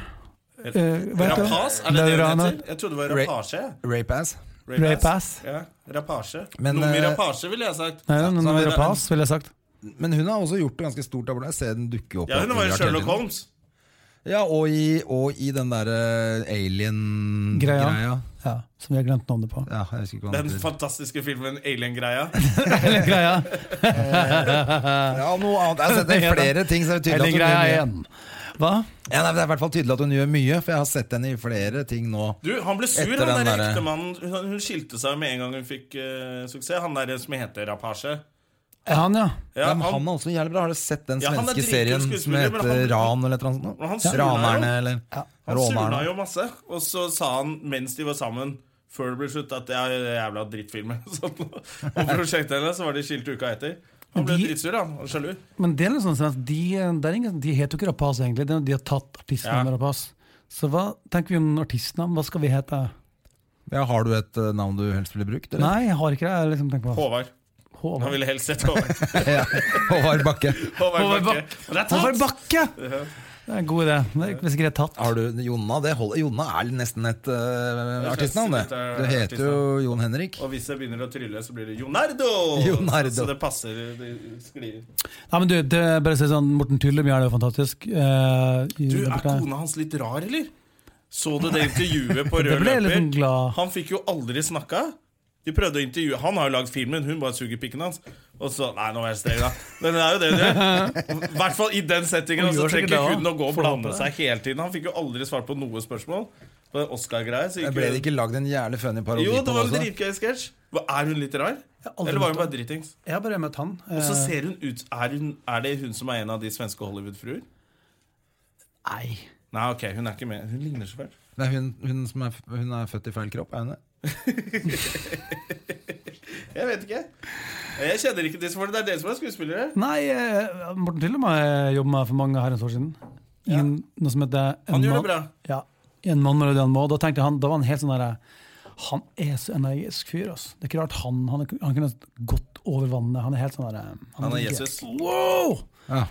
D: Eh, hva heter det?
A: Rapas? Er det det hun
D: Laurana.
A: heter? Jeg trodde det var
B: Ra-
A: rapasje.
B: Rape ass.
D: Rapace.
A: Ja, rapasje.
B: Men,
A: Nomi
B: eh,
A: rapasje, ville jeg sagt.
D: Nei,
A: Så-
D: Noomi
A: så-
D: Rapaz, ville jeg sagt.
B: Men hun har også gjort det ganske stort der borte. Jeg ser den dukke opp.
A: Ja, hun var jo
B: overalt hele
A: Sherlock
B: tiden.
A: Holmes.
B: Ja, og i, og i den derre
D: Greia.
B: alien-greia.
D: Ja, som vi har glemt navnet på.
B: Ja, jeg husker ikke hva den
A: Den
B: heter.
A: fantastiske filmen Alien-greia.
D: Eller greia.
B: Ja, noe annet. Jeg har sett det i flere ting, så er det tydelig
D: Eller
B: at hun
D: greia
B: gjør mye.
D: igjen. Hva?
B: Ja, nei, men det er i hvert fall tydelig at hun gjør mye, for jeg har sett henne i flere ting nå.
A: Du, han ble sur,
B: Etter
A: han
B: den
A: der
B: derre-
A: ektemannen. Hun, hun skilte seg med en gang hun fikk eh, suksess. Han der som heter Rapasje.
D: Er han, ja?
A: Ja,
B: Nei, men han er også jævlig bra. Har du sett den
A: Ja, han er
B: svenske
A: dritkul
B: serien som
A: skuespiller, men
B: heter
A: han-
B: Ran eller et eller annet?
A: Men han
B: sånt?
A: surna
B: Ja.
A: jo.
B: Ranerne eller
A: han surna
B: Rånerne.
A: jo masse. Og så sa han mens de var sammen, før det ble slutt, at det er jævla drittfilmer. Sånn. Og prosjektet hennes så var de skilt uka etter. Han ble
D: Men de-
A: dritsur, han. Og sjalu.
D: Men det er litt sånn at de, det er ingen, de heter jo ikke Rapaz, egentlig. Det er når De har tatt
A: Ja.
D: artistnavnet Rapaz. Så hva tenker vi om artistnavn? Hva skal vi hete?
B: Ja, har du et eh, navn du helst ville brukt? Eller?
D: Nei, jeg har ikke det. Jeg har liksom tenkt på
A: Håvard. Han
D: Håvard
A: ville helst sett Håvard.
B: Ja. Håvard Bakke.
A: Håvard
D: Håvard
A: Bakke.
D: Håvard Bakke! Det er en god idé. Det er ikke hvis ikke det er tatt.
B: Har du Jonna? Det holder. Jonna er nesten et eh,
A: Det er
B: artistnavn, det.
A: nesten et, eh,
B: Du heter jo Jon Henrik.
A: Og hvis jeg begynner å trylle, så blir det Jonardo!
B: Jonardo.
A: Så det passer. Det sklir.
D: Nei, men du, det er bare å si sånn, Morten Tyllebjørn er jo fantastisk. Eh, i-
A: Du,
D: det
A: er
D: ble-
A: kona hans litt rar, eller? Så du det intervjuet på
D: det
A: rød
D: ble jeg
A: løper?
D: liksom glad
A: Han fikk jo aldri snakka. De prøvde å intervjue Han har jo lagd filmen, hun bare suger pikken hans. Og så Nei, nå er jeg streng, da. Men det er jo det du gjør. I hvert fall i den settingen.
D: Hun
A: Og så
D: gjør sikkert
A: trenger
D: det,
A: hun
D: da.
A: å gå og
D: Får håpe
A: blande
D: det.
A: seg hele tiden. Han fikk jo aldri svart på noe spørsmål. På Oscar-greier. så gikk
B: Ble
A: hun-
B: det ikke lagd en jævlig funny parodi
A: Jo,
B: på
A: det
B: det
A: var en
B: også?
A: dritgøy sketsj. Hva, Er hun litt rar?
D: altså. Jeg har aldri
A: Eller var hun
D: møtt
A: bare dritings?
D: Jeg har bare møtt han.
A: Og så
D: Eh,
A: ser hun ut er, hun, er det hun som er en av de svenske Hollywood-fruer?
D: Nei.
A: Nei, ok, hun er ikke med. Hun ligner så fælt.
B: Det er hun, hun som er, f- hun er født i feil kropp, er hun det?
A: Jeg vet ikke. Jeg kjenner ikke disse folkene. Det er dere som er skuespillere.
D: Nei, eh, Morten Tyllebjørn jobba med for mange herrens år siden. I
A: Ja.
D: en- noe som heter En
A: Han gjør
D: mann-
A: det bra.
D: Ja, en mann med Rødian Maa. Da tenkte han, da var han helt sånn der Han er så energisk fyr, ass. Det er ikke rart han, eh, han, han kunne gått over vannet. Han er helt sånn der
A: Han er Jesus.
D: Wow!
B: Ja.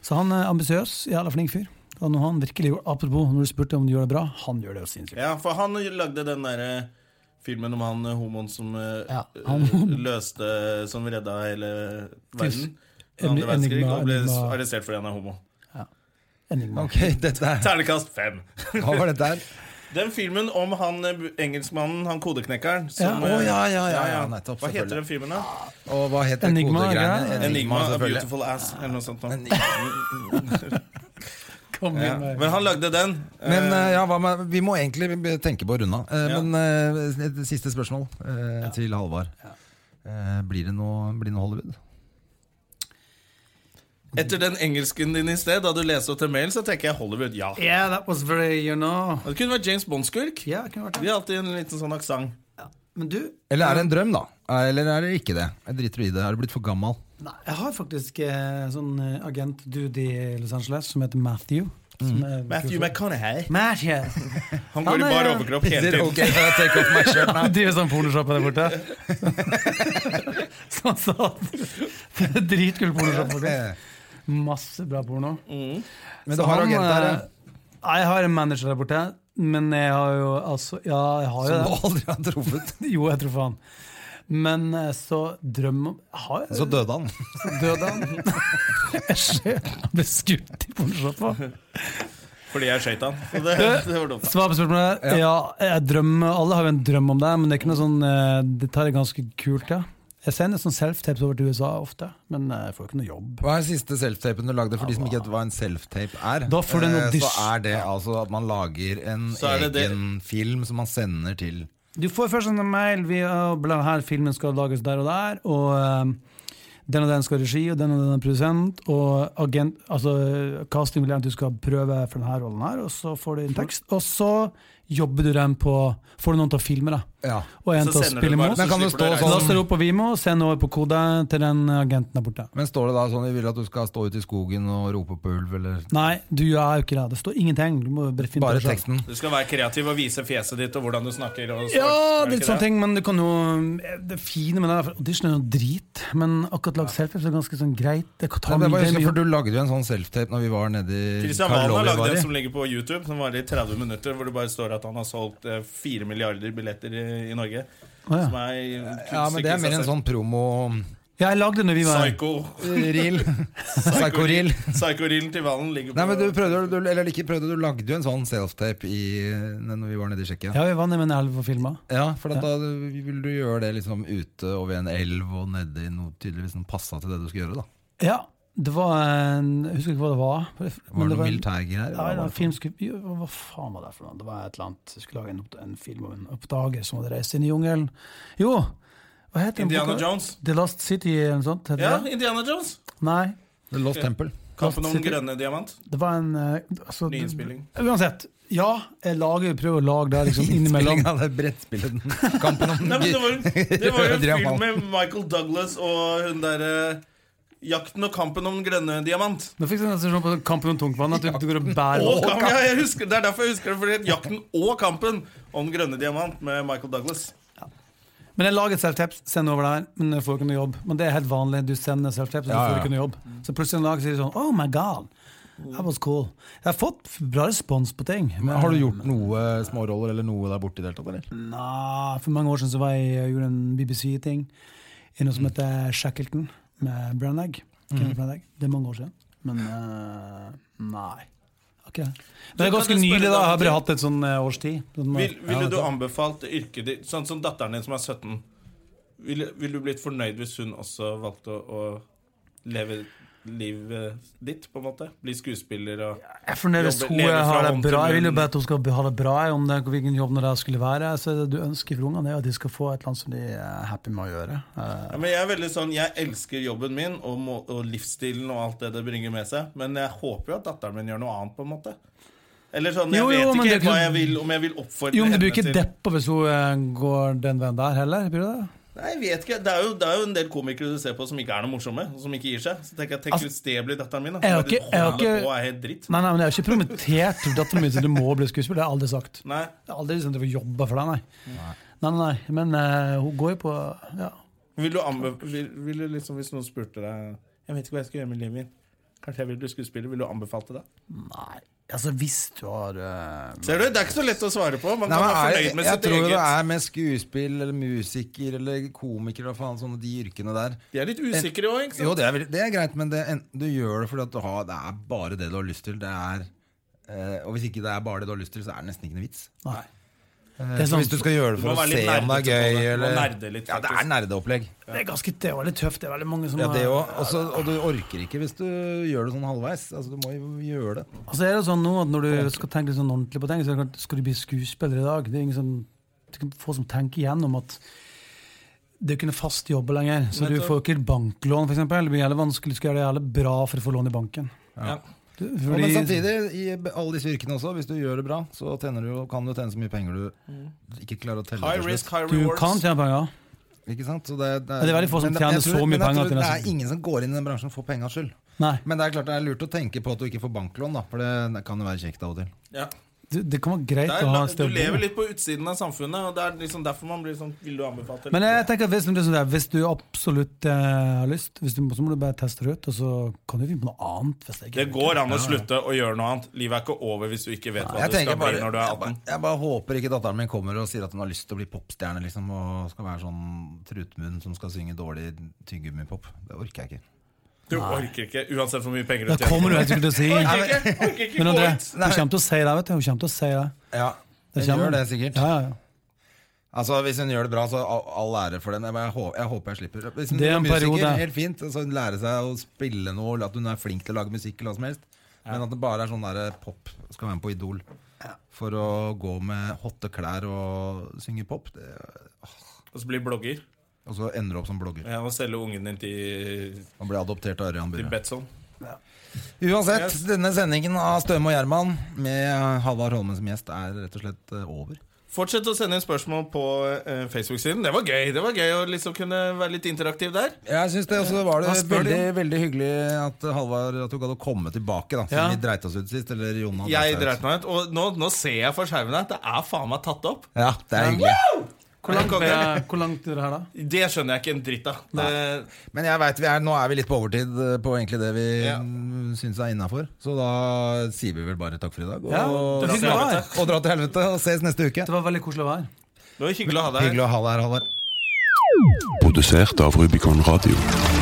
D: Så han er ambisiøs, jævla flink fyr. Og når han virkelig gjorde, apropos når du spurte om du gjør det bra, han gjør det jo sinnssykt.
A: Ja, for han lagde den derre filmen om han eh, homoen som eh,
D: Ja,
A: eh,
D: han-
A: løste Som redda hele verden.
D: Tus-
A: Den andre
D: Enigma-
A: verdenskrig og ble
D: Enigma-
A: arrestert fordi han er homo.
D: Enigma.
B: Ok, dette er,
A: Ternekast fem.
B: hva var dette her?
A: Den filmen om han eh, engelskmannen, han kodeknekkeren som,
B: Å
A: eh,
B: ja, ja, ja, ja, nettopp.
A: Hva heter
B: selvfølgelig.
A: den filmen, da?
B: Og hva heter
D: Enigma,
B: kodegreiene?
D: ja.
A: Enigma, A
B: selvfølgelig.
A: Beautiful Ass, eller noe sånt. nå.
D: Kom
A: Ja.
D: igjen, Erik.
A: Men han lagde den. eh,
B: Men eh, ja, hva med, vi må egentlig be- tenke på å runde av. Eh,
A: Ja.
B: Men eh, et siste spørsmål eh, til Halvard. Eh, Blir det noe, blir det noe Hollywood?
A: Etter den engelsken din i sted, da du leste opp til mail, så tenker jeg Hollywood, ja.
D: Yeah, that was very, you know
A: Det kunne vært James Bond-skurk.
D: Ja, det kunne vært
A: De
D: det.
A: har alltid en liten sånn aksent.
D: Men du,
B: Eller er det en drøm, da? Eh, Eller er det ikke det? Jeg driter i det. Er du blitt for gammel?
D: nei, jeg har faktisk eh, sånn eh, agent-dude i Los Angeles som heter Matthew. Som er,
A: Matthew McConaughey.
D: Matthew!
A: Han går
D: Han
A: i
D: er-
A: bar overkropp hele tiden.
B: Ok, jeg take off my shirt now.
D: Han driver sånn pornoshoppe der borte. Så han sa at Sånn det er dritkul pornoshoppe. faktisk. Masse bra porno.
B: Men du har
D: Han,
B: agent der, ja.
D: eh, Nei, jeg har en manager der borte. Men jeg har jo altså Ja, jeg har jo
B: Som du
D: det.
B: aldri har truffet.
D: Jo, jeg tror faen. Men eh, så drøm om Har jeg
B: Så døde han.
D: døde han? Jeg ser han ble skutt i pornoshoppa.
A: Fordi jeg skøyt han. Så det, det var dumt.
D: Svar på spørsmålet. Ja, jeg drømmer, alle har jo en drøm om det, men det er ikke noe sånn eh, Det tar det ganske kult, ja. Jeg sender sånn self-tapes over til USA ofte, men eh, jeg får ikke noe jobb.
B: Hva er siste selftapen du lagde? For de som ikke vet hva en selftape er,
D: Da får du en
B: eh, så
D: audition.
B: er det altså at man lager en
A: Så er det det-
B: egen film som man sender til
D: Du får først en mail via bla, her filmen skal lages der og der, og eh, den og den skal ha regi, og den og den er produsent, og agent, altså eh, casting vil gjerne at du skal prøve for denne rollen her, og så får du en tekst, og så jobber du den på Får du noen til å filme, da.
B: Ja.
D: Og en
A: Så
D: til å
A: sender du
D: spille
A: bare,
D: imot.
A: så
B: Men kan det
A: slipper du
B: stå
A: å
B: sånn?
D: Så
A: reise.
D: da står det opp på Vimo, send over på kode til den agenten der borte.
B: Men står det da sånn vi vil at du skal stå ute i skogen og rope på ulv, eller
D: Nei, du er jo ikke det. Det står ingenting. Du må bare finne
B: Bare
D: det selv.
B: teksten?
A: Du skal være kreativ og vise fjeset ditt og hvordan du snakker. Og sånt.
D: Ja,
A: Er
D: det er litt
A: ikke
B: sånn
D: sånne ting, men du kan jo eh, Det fine med det er for audition er jo drit, men akkurat lag selfies er ganske sånn greit. Det kan ta
B: Ja, det var
D: mye-
B: husker, jeg,
D: mye-
B: for Du lagde jo en sånn selftape når vi var nede i
A: Christian Valen har
B: Karlovy
A: lagd
B: var
A: en sånn
B: i.
A: som ligger på YouTube, som varer i 30 minutter, hvor det bare står at han har solgt eh, 4 milliarder billetter i, i Norge.
D: Å, ja.
A: Som er
B: Ja, men det er mer en sånn promo-reel.
D: Ja, jeg lagde det når vi var
A: Psycho-reelen
B: Psycho-reel.
A: Psycho til Valen ligger på
B: Nei, men du prøvde, du, eller ikke prøvde, du lagde jo en sånn selftape i, når vi var nede i Tsjekkia. Ja.
D: Ja, vi var nede med en elv og filma.
B: for at da ville du gjøre det liksom ute og ved en elv og nedi noe tydeligvis som passa til det du skulle gjøre. da
D: Ja, det var en Jeg husker ikke hva det var. men
B: Var det noe
D: en-
B: militærgreier?
D: Ja,
B: eller
D: ja,
B: hva var det?
D: filmskup... jo, Hva faen var det for noe? Det var et eller annet Jeg skulle lage en, opp- en film om en oppdager som hadde reist inn i jungelen. Jo! Hva heter den
A: Indiana
D: boka?
A: Jones.
D: The Last City eller noe sånt? Heter
A: Ja,
D: det?
A: Indiana Jones.
D: Nei.
B: The Lost Temple.
A: Kampen om
D: City.
A: den grønne diamant.
D: Det var en eh, altså,
A: Nyinnspilling.
D: Uansett. Ja, jeg lager, prøver å lage det liksom innimellom.
B: Innspilling av det brettspillet. den Kampen om
A: Nei, men det var, det var jo en
B: Grønne
A: film
B: diamant.
A: med Michael Douglas og hun derre Jakten og kampen om den grønne diamant.
D: Nå fikk jeg en sensasjon på kampen om tungtvann. At du, du går og bærer
A: Og kampen, ja, jeg husker, det er derfor jeg husker det, fordi at jakten og kampen om Den grønne diamant med Michael Douglas.
D: Men jeg lager et self-taps, sender over der, men jeg får ikke noe jobb. Men det er helt vanlig. Du sender self-taps, og du
B: Ja, ja. Mm.
D: får ikke noe jobb. Så plutselig en dag sier du sånn Oh my God! That was cool. Jeg har fått bra respons på ting.
B: Men Har du gjort noe eh, småroller eller noe der borte i det hele tatt, eller?
D: Nei, for mange år siden så var jeg og gjorde en BBC-ting i
A: Mm.
D: noe som heter Shackleton med Branagh. Kenneth Branagh. Det er mange år siden. Men eh, nei. Ok. Men det er
A: kan
D: ganske
A: du spørre
D: nylig, da. Jeg har
A: deg
D: bare
A: om
D: hatt et sånn eh, års tid. Sånn, eh,
A: Vil, ville du anbefalt yrket ditt Sånn som datteren din som er 17 Ville vil du blitt fornøyd hvis hun også valgte å, å leve livet ditt, på en måte? Bli skuespiller og
D: Jeg er fornøyd hvis
A: Jobbe-
D: hun
A: leve fra
D: har det
A: hånd til
D: bra. Jeg vil jo
A: munn.
D: bare at hun skal ha det bra om det, hvilken jobb når det skulle være. Så det du ønsker for ungene, er jo at de skal få et eller annet som de er happy med å gjøre. Eh,
A: ja, men Jeg er veldig sånn, jeg elsker jobben min og, må, og livsstilen og alt det det bringer med seg, men jeg håper jo at datteren min gjør noe annet, på en måte. Eller sånn, Jeg
D: Jo, jo,
A: vet
D: men
A: ikke
D: det er
A: helt hva
D: ikke-
A: jeg vil, om jeg vil oppfordre
D: Jo, men du blir
A: henne
D: ikke deppa hvis hun eh, går den veien der heller? Blir du det?
A: Nei, jeg vet ikke. Det er, jo, det er jo en del komikere du ser på som ikke er noe morsomme. og Som ikke gir seg. Så tenker jeg, tenk
D: Altså,
A: hvis det blir datteren min. Da.
D: jeg har
A: Bare
D: ikke- jeg har
A: holder
D: ikke-
A: på og er helt dritt.
D: Nei, nei, men jeg har ikke promotert til datteren min at du må bli skuespiller. Det har jeg aldri sagt.
A: Nei.
D: Jeg har aldri liksom drevet og jobba for deg, nei. Nei, nei, nei. Men eh, hun går jo på ja.
A: Vil du anbe... Vil, vil du liksom, hvis noen spurte deg Jeg vet ikke hva jeg skal gjøre med livet mitt. Kanskje jeg vil bli skuespiller. Vil du anbefalt det?
D: Nei. Altså, hvis du har eh,
A: Ser du, Det er ikke så lett å svare på. Man
B: Nei,
A: kan
B: men
A: være
B: er,
A: fornøyd med
B: jeg
A: sitt
B: tror jo
A: eget.
B: det er med skuespill eller musiker eller komiker eller faen, sånne de yrkene der.
A: De er litt usikre òg, ikke sant?
B: Jo, det er, vel- det er greit, men det, enten du gjør det fordi at du har, det er bare det du har lyst til. Det er, eh, og hvis ikke det er bare det du har lyst til, så er det nesten ikke noe vits.
D: Nei.
B: Eh,
D: Det er sånn,
B: så
D: sant.
B: hvis du skal gjøre det
A: Du må
B: for å
A: være litt
B: se om det
A: nerdete på
B: er
A: det.
B: gøy
A: Du må
B: eller
A: nerde litt,
B: Ja, det
A: faktisk.
B: er nerdeopplegg.
D: Det er ganske det var litt tøft. Det er veldig mange som
B: Ja,
D: har-
B: det òg. Og så- og du orker ikke hvis du gjør det sånn halvveis. Altså, du må jo gjøre det.
D: Og så er det sånn nå at når du skal tenke litt sånn ordentlig på ting, så er det klart, skal du bli skuespiller i dag. Det er ingen som, det er ikke få som tenker igjennom at det er ikke noe fast jobb lenger. Så du
A: Nettopp.
D: får ikke banklån, f.eks. Det blir jævlig vanskelig. Du skal gjøre det jævlig bra for å få lån i banken.
A: Ja.
D: Du,
B: Og
D: fordi,
B: men samtidig, i b- alle disse yrkene også, hvis du gjør det bra, så tjener du, jo- kan du tjene så mye penger du
D: Mm.
B: ikke klarer å telle.
A: High
B: til slutt.
A: risk, high
D: du kan
A: rewards.
D: tjene penger.
B: Ikke sant? Så det,
D: Ja, det er veldig få som
B: men jeg
D: tjener så mye
B: men jeg
D: penger
B: tror
D: at det
B: Det
D: nesten-
B: er ingen som går inn i den bransjen for pengas skyld.
D: Nei.
B: Men det er klart det er lurt å tenke på at du ikke får banklån, da, for det det kan jo være kjekt av og til.
A: Ja.
D: Du, det kan være greit
A: Det
D: å
A: er,
D: ha et
A: du
D: sted å
A: lever
D: bo.
A: litt på utsiden av samfunnet, og det er liksom derfor man blir sånn Vil du anbefale det?
D: Men jeg tenker at hvis, det er sånn der, hvis du absolutt eh, har lyst, hvis du, så må du bare teste det ut. Og så kan du finne på noe annet. Hvis det, ikke
A: Det går an å slutte å gjøre noe annet. Livet er ikke over hvis du ikke vet hva
B: Jeg,
A: du skal
B: tenker bare,
A: bli når du er
B: jeg,
A: 18.
B: bare, jeg bare håper ikke datteren min kommer og sier at hun har lyst til å bli popstjerne, liksom, og skal være sånn trutmunn som skal synge dårlig tyggegummipop. Det orker jeg ikke.
A: Du orker ikke, uansett hvor mye penger du
D: Det
A: tjener.
D: kommer du helt sikkert til å si.
A: Orker ikke, orker ikke
D: Men
A: gå
D: André,
A: ut.
D: hun kommer til å si det. vet du Hun kommer til å si det.
B: Ja,
D: Det
B: hun
D: kommer.
B: gjør det sikkert.
D: Ja, ja, ja.
B: Altså, Hvis hun gjør det bra, så all all ære for den. Jeg, bare, hå- jeg håper jeg slipper. Hvis hun
D: Det er
B: er
D: en
B: musiker,
D: periode.
B: helt fint. Så hun lærer seg å spille noe, eller at hun er flink til å lage musikk, eller hva som helst. Men at det bare er sånn der pop. Skal være med på Idol. For å gå med hotte klær og synge pop. Det,
A: Og så blir blogger.
B: og så ender du opp som blogger.
A: Ja, og selge ungen din til,
B: Og blir adoptert av Ørjan
A: til
B: Burre.
A: Betson.
B: Uansett,
A: Yes.
B: denne sendingen av Støme og Gjerman med Halvard Holmen som gjest er rett og slett eh, over.
A: Fortsett å sende inn spørsmål på eh, Facebook-siden. Det var gøy det var gøy å liksom kunne være litt interaktiv der.
B: Jeg synes det også var det
A: Hva spør
B: veldig, veldig hyggelig at Halvard at du gadd å komme tilbake. da Siden
D: Ja.
B: vi dreit oss ut sist. Eller Jonna
A: Jeg
B: dreit seg ut.
A: dreit meg ut. Og nå, nå ser jeg for skjermen at det er faen meg tatt opp.
B: Ja, det er hyggelig.
D: Hvor langt, er, hvor langt er det her, da?
A: Det skjønner jeg ikke en dritt av. Det,
B: Men jeg vet, vi er, nå er vi litt på overtid eh, på egentlig det vi
A: Ja.
B: mm, syns er innafor. Så da sier vi vel bare takk for i dag. Og,
D: Ja,
B: og,
A: dra til
D: det var hyggelig å være her.
A: helvete.
B: dra til helvete og ses neste uke.
D: Det var veldig koselig å være her.
A: det var hyggelig å ha deg her.
B: Hyggelig å ha deg her, Halvard.
E: Produsert av Rubicon Radio.